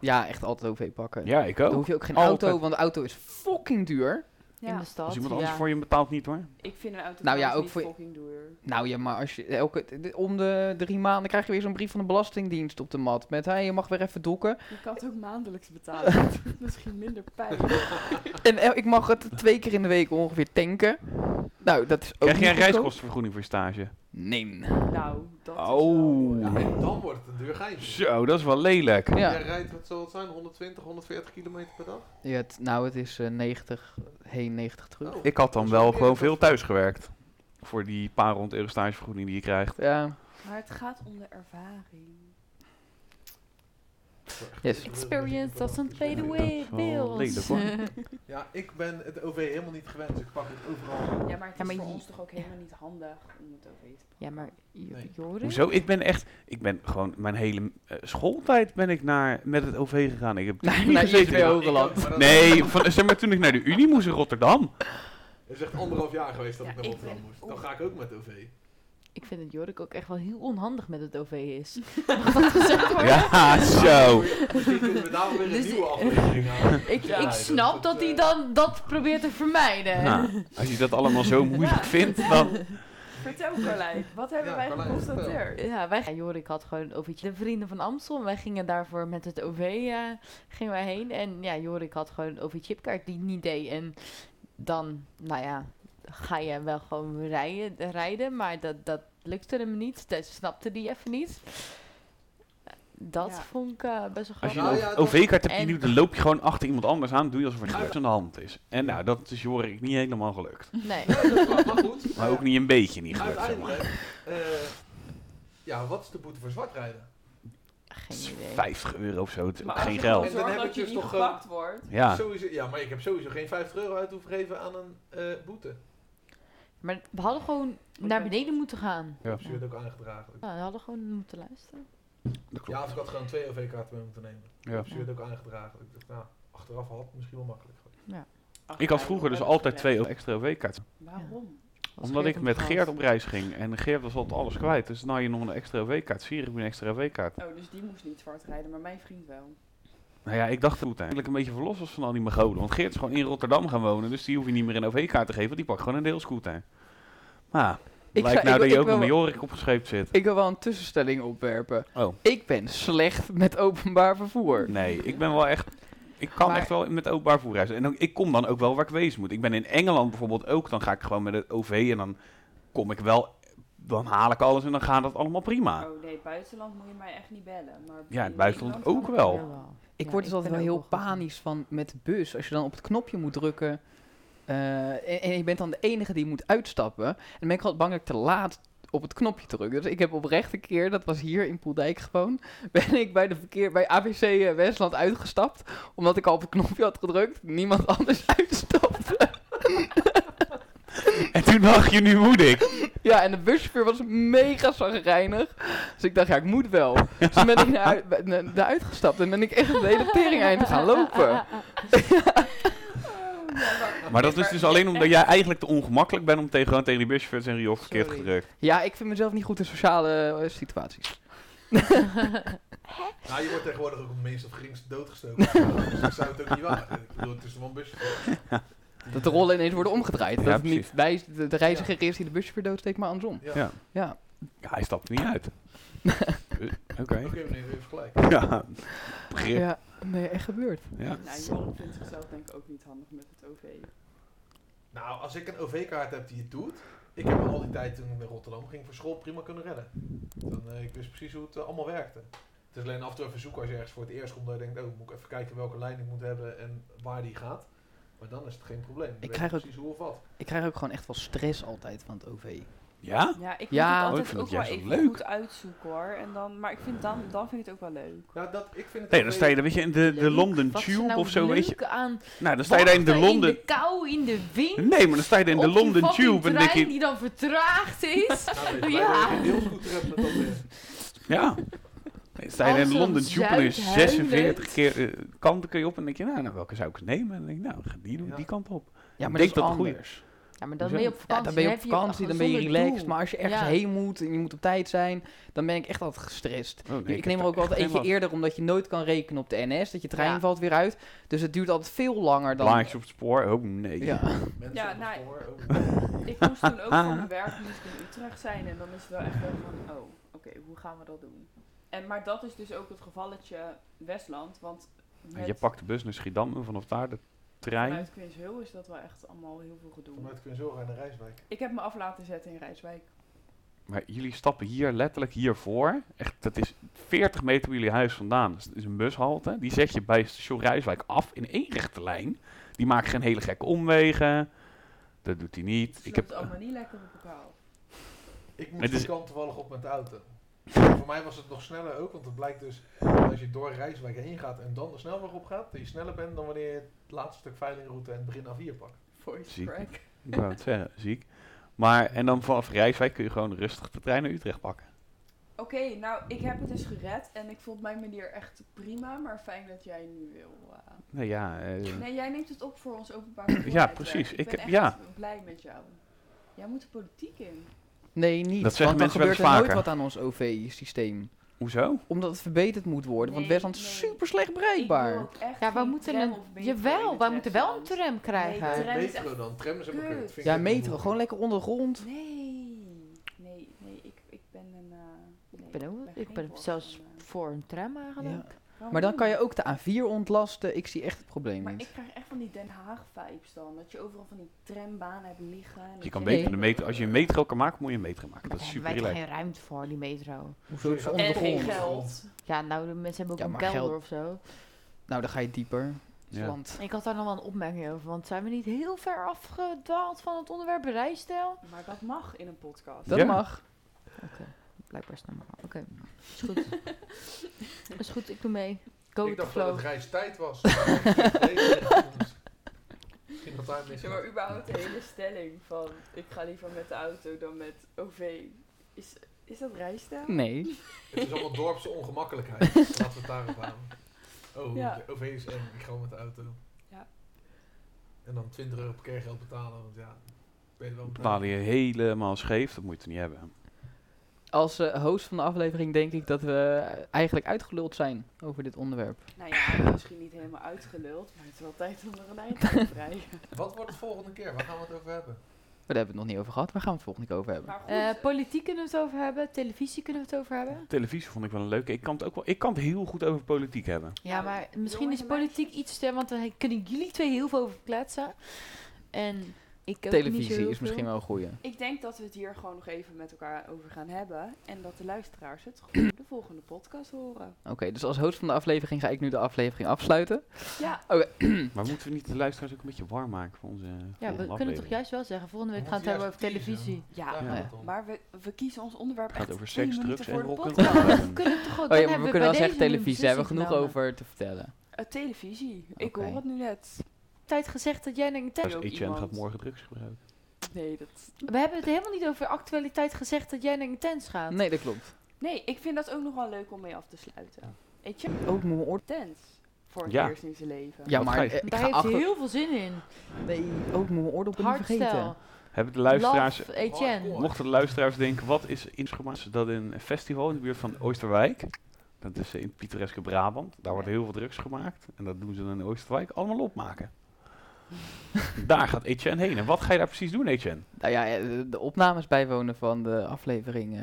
Speaker 1: ja, echt altijd OV pakken.
Speaker 2: Ja, ik
Speaker 1: Dan
Speaker 2: ook.
Speaker 1: hoef je ook geen
Speaker 2: Altijd.
Speaker 1: auto, want de auto is fucking duur.
Speaker 5: In
Speaker 3: Ja,
Speaker 5: de stad.
Speaker 2: Als iemand
Speaker 5: ja.
Speaker 2: anders voor je betaalt niet hoor.
Speaker 3: ik vind een auto
Speaker 1: Nou ja,
Speaker 3: trouwens
Speaker 1: ook
Speaker 3: niet
Speaker 1: voor je-
Speaker 3: fucking duur.
Speaker 1: Nou ja, maar als je elke, de- om de drie maanden krijg je weer zo'n brief van de Belastingdienst op de mat. Met hey, je mag weer even doeken.
Speaker 3: Je kan het ook maandelijks betalen. Misschien minder pijn.
Speaker 1: En eh, ik mag het twee keer in de week ongeveer tanken. Nou, dat is ook.
Speaker 2: Krijg
Speaker 1: niet
Speaker 2: jij een
Speaker 1: goedkoop.
Speaker 2: reiskostenvergoeding voor je stage?
Speaker 1: Nee.
Speaker 3: Nou, dat is wel-
Speaker 6: Ja,
Speaker 2: Oh.
Speaker 6: en dan wordt het een duur geintje.
Speaker 2: Zo, dat is wel lelijk.
Speaker 6: Jij
Speaker 1: Ja,
Speaker 6: rijdt, wat zal het zijn, 120, 140 kilometer per dag?
Speaker 1: ja het, nou, het is eh, 90 heen, 90 terug.
Speaker 6: Oh,
Speaker 2: Ik had dan
Speaker 6: dat is
Speaker 2: wel
Speaker 6: meer
Speaker 2: gewoon
Speaker 6: dan-
Speaker 2: veel thuis gewerkt. Voor die paar honderd euro stagevergoeding die je krijgt.
Speaker 1: Ja,
Speaker 3: Maar het gaat om de ervaring.
Speaker 1: yes.
Speaker 5: Experience doesn't fade
Speaker 2: Nee, dat
Speaker 5: away,
Speaker 2: is wel Oh, lelijk,
Speaker 5: Bills.
Speaker 2: hoor.
Speaker 6: Ja, ik ben het OV helemaal niet gewend, dus ik pak het overal.
Speaker 3: Ja, maar het
Speaker 5: Ja,
Speaker 3: is
Speaker 5: maar
Speaker 3: voor
Speaker 5: je-
Speaker 3: ons toch ook helemaal niet handig om het OV te
Speaker 5: ja, maar J-
Speaker 6: Nee.
Speaker 5: Joris?
Speaker 2: Hoezo? Ik ben echt, ik ben gewoon mijn hele eh, schooltijd ben ik naar, met het OV gegaan. Ik heb
Speaker 1: Naar-
Speaker 2: drie
Speaker 1: naar
Speaker 2: gezeten.
Speaker 1: ITO. Hogeland.
Speaker 6: maar dat-
Speaker 2: Nee, van, zeg maar toen ik naar de Unie moest in Rotterdam.
Speaker 6: Het is echt anderhalf jaar geweest dat
Speaker 3: Ja,
Speaker 6: ik naar
Speaker 3: ik
Speaker 6: Rotterdam
Speaker 3: ben-
Speaker 6: moest. Dan ga ik ook met OV.
Speaker 5: Ik vind dat Jorik ook echt wel heel onhandig met het OV is. Mag dat gezegd worden?
Speaker 2: Ja, zo.
Speaker 6: Misschien kunnen we daar wel weer een
Speaker 5: Dus-
Speaker 6: nieuwe aflevering aan.
Speaker 5: Ik,
Speaker 6: Ja,
Speaker 5: ik
Speaker 6: dat-
Speaker 5: snap dat hij
Speaker 6: eh,
Speaker 5: dan dat probeert te vermijden.
Speaker 2: Nou, als je dat allemaal zo moeilijk vindt, dan...
Speaker 3: Vertel Carlijn, wat hebben
Speaker 6: Ja,
Speaker 3: wij
Speaker 6: Carlijn,
Speaker 3: geconstateerd?
Speaker 5: Ja, wij, ja, Jorik had gewoon een OV'tje. De vrienden van Amstel. en Wij gingen daarvoor met het OV eh, gingen wij heen. En ja, Jorik had gewoon een OV-chipkaart die het niet deed. En dan, nou ja, ga je wel gewoon rijden. rijden maar dat, dat lukte hem niet. Dat snapte die even niet. Dat
Speaker 3: Ja.
Speaker 5: vond ik eh, best wel
Speaker 2: Als je
Speaker 5: grappig.
Speaker 6: Nou
Speaker 2: een
Speaker 6: ja, dat-
Speaker 2: OV-kaart hebt, die
Speaker 5: en-
Speaker 2: doet, dan loop je gewoon achter iemand anders aan. Doe je alsof er niks aan de hand is. En nou, dat is Jorik niet helemaal gelukt.
Speaker 5: Nee.
Speaker 6: Nee, dat klopt, maar goed.
Speaker 2: Maar ook niet een beetje niet gelukt. zeg maar.
Speaker 6: Uiteindelijk, eh, ja, wat is de boete voor zwartrijden?
Speaker 5: Geen idee.
Speaker 2: 50 euro of zo, het is ook
Speaker 3: Maar als
Speaker 2: geen
Speaker 3: je gewoon
Speaker 2: geld.
Speaker 6: En dan
Speaker 3: zorgt
Speaker 6: heb
Speaker 3: dat
Speaker 6: ik
Speaker 3: je
Speaker 6: dus
Speaker 3: niet
Speaker 6: toch, eh,
Speaker 3: gepakt wordt.
Speaker 2: Ja,
Speaker 6: Sowieso, ja, maar ik heb sowieso geen 50 euro uit hoeven geven aan een eh, boete.
Speaker 5: Maar we hadden gewoon naar beneden moeten gaan.
Speaker 2: Ja.
Speaker 6: Dus je werd ook aangedragen.
Speaker 5: Ja, we hadden gewoon moeten luisteren.
Speaker 2: dat klopt.
Speaker 6: Ja, of ik had gewoon twee OV-kaarten mee moeten nemen.
Speaker 2: Ja.
Speaker 6: Dus je werd ook aangedragen. Ik dacht, nou, achteraf had het misschien wel makkelijk. geweest.
Speaker 3: Ach,
Speaker 2: Ik had
Speaker 3: ja,
Speaker 2: vroeger
Speaker 3: we
Speaker 2: dus
Speaker 3: hebben
Speaker 2: altijd
Speaker 3: gered.
Speaker 2: twee extra OV-kaarten.
Speaker 3: Waarom?
Speaker 5: Was
Speaker 2: Omdat ik
Speaker 5: hem
Speaker 2: met
Speaker 5: gehad.
Speaker 2: Geert op reis ging en Geert was altijd alles kwijt. Dus nou je nog een extra OV-kaart, Siri moet een extra OV-kaart.
Speaker 3: Oh, dus die moest niet zwart rijden, maar mijn vriend wel.
Speaker 2: Nou ja, ik dacht goed eigenlijk een beetje verlost was van al die magolen. Want Geert is gewoon in Rotterdam gaan wonen, dus die hoef je niet meer een OV-kaart te geven, want die pakt gewoon een deelscooter. Maar
Speaker 1: Ik
Speaker 2: lijkt
Speaker 1: zou-
Speaker 2: nou
Speaker 1: ik-
Speaker 2: dat je
Speaker 1: ik
Speaker 2: ook
Speaker 1: wil-
Speaker 2: nog met Jorik opgeschreven zit.
Speaker 1: Ik wil wel een tussenstelling opwerpen.
Speaker 2: Oh.
Speaker 1: Ik ben slecht met openbaar vervoer.
Speaker 2: Nee, ik ben wel echt... Ik kan
Speaker 1: Maar-
Speaker 2: echt wel met openbaar voer reizen. En dan- ik kom dan ook wel waar ik wezen moet. Ik ben in Engeland bijvoorbeeld ook. Dan ga ik gewoon met het OV en dan kom ik wel... Dan haal ik alles en dan gaat dat allemaal prima.
Speaker 3: Oh nee, buitenland moet je mij echt niet bellen. Maar
Speaker 2: Ah. Ja,
Speaker 3: in
Speaker 2: het buitenland
Speaker 3: Nederland
Speaker 2: ook
Speaker 3: kan
Speaker 2: wel.
Speaker 3: het
Speaker 5: Jawel.
Speaker 1: Ik
Speaker 5: Ja,
Speaker 1: word dus altijd
Speaker 5: ben
Speaker 1: wel heel
Speaker 5: ook goed.
Speaker 1: panisch van met de bus. Als je dan op het knopje moet drukken eh, en, en je bent dan de enige die moet uitstappen. En dan ben ik altijd bang dat ik te laat op het knopje druk. Dus ik heb oprecht een keer, dat was hier in Poeldijk gewoon, ben ik bij, de verkeer, bij ABC eh, Westland uitgestapt. Omdat ik al op het knopje had gedrukt. Niemand anders uitstapte.
Speaker 2: En toen dacht je, nu moet ik.
Speaker 1: Ja, en de buschauffeur was mega zagrijnig. Dus ik dacht, ja, ik moet wel. Dus toen ben ik naar, uit- ben- naar- naar uitgestapt en ben ik echt de hele tering eind gaan lopen.
Speaker 3: Oh,
Speaker 2: Maar dat is dus alleen omdat jij eigenlijk te ongemakkelijk bent om tegen, gewoon tegen die buschauffeur te zeggen, joh, verkeerd
Speaker 5: Sorry.
Speaker 2: gedrukt.
Speaker 1: Ja, ik vind mezelf niet goed in sociale eh, situaties.
Speaker 6: Nou, je wordt tegenwoordig ook op het minst of geringst doodgestoken. Dus ik zou het ook niet wagen. Ik bedoel, het is wel een busje.
Speaker 1: Dat de rollen ineens worden omgedraaid.
Speaker 2: Ja,
Speaker 1: dat het
Speaker 2: precies.
Speaker 1: niet wij, de, de reiziger is die de buschauffeur doodsteekt, maar andersom.
Speaker 6: Ja.
Speaker 2: Ja.
Speaker 1: Ja.
Speaker 2: Ja, hij stapt niet uit. Eh, Oké.
Speaker 6: Oké, meneer, u heeft gelijk.
Speaker 2: Ja, begrip.
Speaker 1: Ja, nee, echt gebeurd.
Speaker 2: Ja.
Speaker 3: Nou, Jorik vindt zichzelf denk ik ook niet handig met het OV.
Speaker 6: Nou, als ik een OV-kaart heb die het doet. Ik heb al die tijd toen ik naar Rotterdam ging voor school prima kunnen redden. Dan, eh, ik wist precies hoe het eh, allemaal werkte. Het is alleen af en toe even zoeken als je ergens voor het eerst komt. Dat je denkt, oh, moet ik even kijken welke lijn ik moet hebben en waar die gaat. Maar dan is het geen probleem. Dan
Speaker 1: Ik
Speaker 6: weet
Speaker 1: krijg ook-
Speaker 6: precies hoe of wat.
Speaker 1: Ik krijg ook gewoon echt wel stress altijd van het OV.
Speaker 2: Ja?
Speaker 3: Ja, ik
Speaker 1: Ja.
Speaker 3: moet
Speaker 1: Oh,
Speaker 2: ik
Speaker 3: het altijd
Speaker 2: vind
Speaker 3: ook
Speaker 2: het
Speaker 3: wel
Speaker 2: juist
Speaker 3: even
Speaker 2: wel leuk.
Speaker 3: goed uitzoeken hoor. En dan, maar ik vind dan, dan vind ik het ook wel leuk.
Speaker 6: Nou, dat, ik vind het
Speaker 2: Nee,
Speaker 6: OV
Speaker 2: dan sta je daar, weet je, in de, de
Speaker 5: Leuk.
Speaker 2: London
Speaker 5: Wat is
Speaker 2: Tube
Speaker 5: nou
Speaker 2: of zo,
Speaker 5: leuk
Speaker 2: weet je.
Speaker 5: Aan
Speaker 2: Nou, dan sta je daar in de
Speaker 5: wachten,
Speaker 2: Londen...
Speaker 5: In de kou, in de wind.
Speaker 2: Nee, maar dan sta je daar in de
Speaker 5: op die
Speaker 2: London
Speaker 5: fucking
Speaker 2: Tube en dan denk
Speaker 5: trein
Speaker 2: je...
Speaker 5: die dan vertraagd is.
Speaker 6: Nou, weet je,
Speaker 5: Ja.
Speaker 6: wij weten heel goed te redden met dat eh, weer.
Speaker 2: Ja. Nee, dan sta je daar in de
Speaker 5: Amsterdam
Speaker 2: London Tube en er is
Speaker 5: Zuid,
Speaker 2: 46 keer eh, kanten kun je op en dan denk je, nou, nou, welke zou ik eens nemen? En dan denk je, nou, ga die, doen,
Speaker 6: Ja.
Speaker 2: die kant op.
Speaker 1: Ja,
Speaker 2: Ik
Speaker 1: maar
Speaker 2: denk
Speaker 1: dat is
Speaker 2: dat het goed
Speaker 1: anders.
Speaker 5: Ja, maar dan
Speaker 2: Hoezo?
Speaker 5: ben je op
Speaker 1: Ja,
Speaker 5: vakantie.
Speaker 1: dan ben je op
Speaker 5: heb een
Speaker 1: vakantie, dan ben je
Speaker 5: gezonder
Speaker 1: relaxed.
Speaker 5: doel.
Speaker 1: Maar als je ergens
Speaker 5: Ja.
Speaker 1: heen moet en je moet op tijd zijn, dan ben ik echt altijd gestrest.
Speaker 2: Oh, nee,
Speaker 1: ik,
Speaker 2: heb
Speaker 1: neem er
Speaker 2: daar
Speaker 1: ook
Speaker 2: echt
Speaker 1: altijd eentje
Speaker 2: geen last.
Speaker 1: eerder, omdat je nooit kan rekenen op de NS. Dat je trein
Speaker 5: Ja.
Speaker 1: valt weer uit. Dus het duurt altijd veel langer dan...
Speaker 2: Blaadjes op het spoor, oh nee.
Speaker 1: Ja.
Speaker 6: Mensen
Speaker 3: Ja,
Speaker 6: op het
Speaker 3: nou,
Speaker 6: spoor, oh.
Speaker 3: Ik moest toen ook voor mijn werk moest ik in Utrecht zijn. En dan is het wel echt wel van, oh, oké, hoe gaan we dat doen? En, maar dat is dus ook het gevalletje Westland. Want met,
Speaker 2: Je pakt de bus naar Schiedam en vanaf daar de trein.
Speaker 3: vanuit Queen's Hill is dat wel echt allemaal heel veel gedoe.
Speaker 6: Vanuit kun je zo gaan naar Rijswijk.
Speaker 3: Ik heb me af laten zetten in Rijswijk.
Speaker 2: Maar jullie stappen hier letterlijk hiervoor. Echt, dat is 40 meter bij jullie huis vandaan. Dus het is een bushalte. Die zet je bij station Rijswijk af in één rechte lijn. Die maakt geen hele gekke omwegen. Dat doet hij niet. Ik
Speaker 3: Ik heb
Speaker 2: heb,
Speaker 3: het allemaal niet lekker op elkaar. op.
Speaker 6: Ik
Speaker 2: Het
Speaker 6: moest
Speaker 2: is-
Speaker 6: die kant toevallig op met de auto. Voor mij was het nog sneller ook, want het blijkt dus dat als je door Rijswijk heen gaat en dan de snelweg op gaat, dat je sneller bent dan wanneer je het laatste stuk veilingroute en het begin A4 pakt.
Speaker 3: Voice
Speaker 2: Ziek.
Speaker 3: crack.
Speaker 2: ik wou het zeggen, ziek. Maar, en dan vanaf Rijswijk kun je gewoon rustig de trein naar Utrecht pakken.
Speaker 3: Oké, nou, ik heb het dus gered. En ik vond mijn manier echt prima. Maar fijn dat jij nu wil... eh,
Speaker 2: Nou ja, eh,
Speaker 3: Nee, jij neemt het op voor ons openbaar vervoer.
Speaker 2: Ja,
Speaker 3: netwerk.
Speaker 2: precies.
Speaker 3: Ik,
Speaker 2: Ik
Speaker 3: ben
Speaker 2: heb-
Speaker 3: echt
Speaker 2: ja.
Speaker 3: blij met jou. Jij moet de politiek in.
Speaker 1: Nee, niet.
Speaker 2: Dat
Speaker 1: want
Speaker 2: zeggen
Speaker 1: dan
Speaker 2: mensen wel
Speaker 1: gebeurt
Speaker 2: eens
Speaker 1: er nooit
Speaker 2: vaker.
Speaker 1: wat aan ons OV-systeem.
Speaker 2: hoezo?
Speaker 1: Omdat het verbeterd moet worden. want
Speaker 3: Nee,
Speaker 1: Westland is
Speaker 3: nee.
Speaker 1: super slecht
Speaker 3: Ik
Speaker 1: bereikbaar.
Speaker 3: wil ook echt
Speaker 5: Ja, we
Speaker 3: geen
Speaker 5: moeten
Speaker 3: tram
Speaker 5: een...
Speaker 3: of metro in
Speaker 5: Jawel,
Speaker 3: het
Speaker 5: wij moeten wel een
Speaker 3: Westland.
Speaker 5: tram krijgen.
Speaker 3: Nee, Tram is
Speaker 6: metro
Speaker 3: echt
Speaker 6: dan, tram is helemaal
Speaker 3: kut.
Speaker 6: kut. Vind ik
Speaker 1: Ja,
Speaker 6: echt
Speaker 1: metro.
Speaker 6: moeilijk.
Speaker 1: Gewoon lekker ondergrond.
Speaker 3: Nee, nee, nee. Ik, ik ben een... eh, nee,
Speaker 5: Ik ben, ook, ik
Speaker 3: geen
Speaker 5: ben
Speaker 3: voorstander.
Speaker 5: zelfs voor een tram eigenlijk.
Speaker 3: Waarom
Speaker 1: Maar dan kan je
Speaker 3: niet?
Speaker 1: ook de A4 ontlasten. Ik zie echt het probleem
Speaker 3: Maar
Speaker 1: niet.
Speaker 3: ik krijg echt van die Den Haag-vibes dan. Dat je overal van die trambanen hebt liggen. en
Speaker 2: Je
Speaker 3: dat
Speaker 2: kan
Speaker 1: Nee.
Speaker 2: beter een metro, als je een metro kan maken, moet je een metro maken. Dat is
Speaker 5: Daar
Speaker 2: super
Speaker 5: hebben wij
Speaker 2: relaxed.
Speaker 5: toch geen ruimte voor, die metro.
Speaker 1: Hoezo is het
Speaker 6: En
Speaker 3: En geen
Speaker 1: ondergrond?
Speaker 6: geld.
Speaker 3: geld.
Speaker 5: Ja, nou, de mensen hebben
Speaker 1: Ja,
Speaker 5: ook
Speaker 1: maar
Speaker 5: een
Speaker 1: geld-
Speaker 5: kelder of zo.
Speaker 1: Nou, dan ga je dieper.
Speaker 2: Ja.
Speaker 1: Want
Speaker 5: Ik had daar nog wel een opmerking over, want zijn we niet heel ver afgedwaald van het onderwerp rijstijl?
Speaker 3: Maar dat mag in een podcast.
Speaker 1: dat
Speaker 2: Ja.
Speaker 1: mag.
Speaker 5: Blijkbaar is het normaal. Oké, is goed. is goed, ik doe mee. Go
Speaker 6: Ik
Speaker 5: with the
Speaker 6: dacht dat
Speaker 5: flow.
Speaker 6: het reistijd was. Maar ik vind het beter. Misschien dat daar mis
Speaker 3: Ja, maar überhaupt de hele stelling van ik ga liever met de auto dan met OV. Is, is dat rijstijl?
Speaker 1: Nee.
Speaker 6: Het is allemaal dorpse ongemakkelijkheid. Laten we het daarop aan. Oh,
Speaker 3: Ja.
Speaker 6: de OV is eng. Ik ga met de auto.
Speaker 3: Ja.
Speaker 6: En dan 20 euro parkeergeld betalen, want ja, ben je wel
Speaker 2: Betaal je helemaal scheef, dat moet je niet hebben.
Speaker 1: Als eh, host van de aflevering denk ik dat we eigenlijk uitgeluld zijn over dit onderwerp.
Speaker 3: Nou ja, misschien niet helemaal uitgeluld, maar het is wel tijd om er een eind aan te breien.
Speaker 6: Wat wordt het volgende keer? Waar gaan we het over hebben?
Speaker 1: Maar daar hebben we het nog niet over gehad. Waar gaan we het volgende keer over hebben?
Speaker 3: Maar goed,
Speaker 5: Eh, politiek kunnen we het over hebben, televisie kunnen we het over hebben.
Speaker 2: Televisie vond ik wel een leuke. Ik kan het ook wel. Ik kan het heel goed over politiek hebben.
Speaker 5: Ja,
Speaker 3: Nou,
Speaker 5: maar
Speaker 3: jongens
Speaker 5: misschien is
Speaker 3: en
Speaker 5: politiek iets te... Want dan he- kunnen jullie twee heel veel over kletsen. En Ik ook niet zo
Speaker 1: Televisie
Speaker 5: heel
Speaker 1: is misschien
Speaker 5: veel.
Speaker 1: wel een goeie.
Speaker 3: Ik denk dat we het hier gewoon nog even met elkaar over gaan hebben. En dat de luisteraars het gewoon de volgende podcast horen.
Speaker 1: Oké, dus als host van de aflevering ga ik nu de aflevering afsluiten.
Speaker 3: Ja,
Speaker 2: Maar moeten we niet de luisteraars ook een beetje warm maken voor onze
Speaker 5: Hm. Ja, we kunnen toch juist wel zeggen, volgende week
Speaker 6: We
Speaker 5: gaan we het hebben over
Speaker 6: moeten juist
Speaker 5: televisie.
Speaker 3: ja.
Speaker 1: Nou Ja.
Speaker 3: Maar we, we kiezen ons onderwerp
Speaker 2: Het gaat
Speaker 3: echt
Speaker 2: over
Speaker 3: twee
Speaker 2: seks,
Speaker 3: minuten
Speaker 2: drugs
Speaker 3: voor
Speaker 2: en
Speaker 3: de
Speaker 2: rock'n'roll.
Speaker 3: podcast.
Speaker 5: Ja, we kunnen toch gewoon,
Speaker 1: Oh ja, maar
Speaker 5: dan hebben
Speaker 1: we kunnen
Speaker 5: we
Speaker 1: wel
Speaker 5: bij
Speaker 1: zeggen
Speaker 5: deze nu een
Speaker 1: televisie, daar hebben we genoeg
Speaker 5: beslissing genomen.
Speaker 1: over te vertellen.
Speaker 3: Eh, televisie. Ik
Speaker 1: Oké.
Speaker 3: hoor het nu net.
Speaker 5: Tijd gezegd dat jij naar
Speaker 3: Ja.
Speaker 5: tijd...
Speaker 2: Dus
Speaker 3: ook
Speaker 2: Etienne
Speaker 3: iemand.
Speaker 2: gaat morgen drugs gebruiken.
Speaker 3: Nee, dat...
Speaker 5: We hebben het helemaal niet over actualiteit gezegd dat jij naar intens gaat.
Speaker 1: Nee, dat klopt.
Speaker 3: nee, ik vind dat ook nog wel leuk om mee af te sluiten. Weet je?
Speaker 1: Ook moe oor.
Speaker 3: Tens. Voor het
Speaker 2: Ja.
Speaker 3: eerst in zijn leven.
Speaker 1: Ja,
Speaker 2: Wat
Speaker 1: maar
Speaker 2: ga je-
Speaker 1: eh, ik
Speaker 5: Daar
Speaker 1: ga
Speaker 5: heeft
Speaker 1: achter...
Speaker 5: heel veel zin in.
Speaker 1: Nee, ook mijn oordoppen niet
Speaker 5: Hardstyle.
Speaker 1: vergeten.
Speaker 2: Hebben de luisteraars
Speaker 5: Love, Etienne.
Speaker 1: Oh,
Speaker 6: Hardcore.
Speaker 2: Mochten de luisteraars denken, wat is Inschomaat? Dat is een festival in de buurt van Oosterwijk. Dat is in pittoreske Brabant. Daar wordt heel veel drugs gemaakt. En dat doen ze dan in Oosterwijk allemaal opmaken. daar gaat Etienne heen. En wat ga je daar precies doen, Etienne?
Speaker 1: Nou ja, eh, de- de opnames bijwonen van de aflevering eh,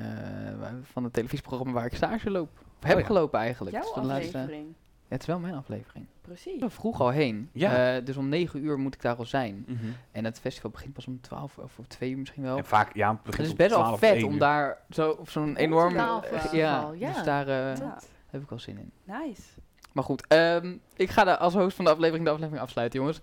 Speaker 1: wa- van het televisieprogramma waar ik stage loop. Of heb
Speaker 2: Oh ja.
Speaker 1: gelopen eigenlijk.
Speaker 3: Jouw
Speaker 1: Dus de laatste-
Speaker 3: aflevering.
Speaker 1: Ja, het is wel mijn aflevering. Ik
Speaker 3: Precies.
Speaker 1: ben vroeg al heen.
Speaker 2: Ja.
Speaker 1: Eh, dus om 9 uur moet ik daar al zijn. En het festival begint pas om 12 of om 2 uur misschien wel.
Speaker 2: En vaak, ja, het begint
Speaker 1: Het is
Speaker 2: om
Speaker 1: best wel
Speaker 2: 12,
Speaker 1: vet
Speaker 2: 1
Speaker 1: om
Speaker 2: uur.
Speaker 1: daar zo, op zo'n enorm...
Speaker 5: taal
Speaker 1: eh,
Speaker 5: festival,
Speaker 1: ja,
Speaker 5: ja.
Speaker 1: dus daar eh,
Speaker 3: Ja,
Speaker 1: heb ik wel zin in.
Speaker 3: nice.
Speaker 1: Maar goed, ehm, ik ga de, als host van de aflevering de aflevering afsluiten, jongens.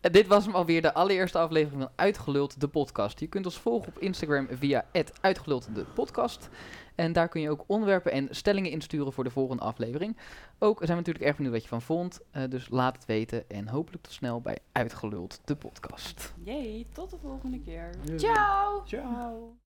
Speaker 1: Eh, dit was hem alweer de allereerste aflevering van Uitgeluld, de podcast. Je kunt ons volgen op Instagram via het Uitgeluld, de podcast. En daar kun je ook onderwerpen en stellingen insturen voor de volgende aflevering. Ook zijn we natuurlijk erg benieuwd wat je van vond. eh, dus laat het weten en hopelijk tot snel bij Uitgeluld, de podcast.
Speaker 3: Jee, tot de volgende keer.
Speaker 5: Ciao!
Speaker 3: Ciao.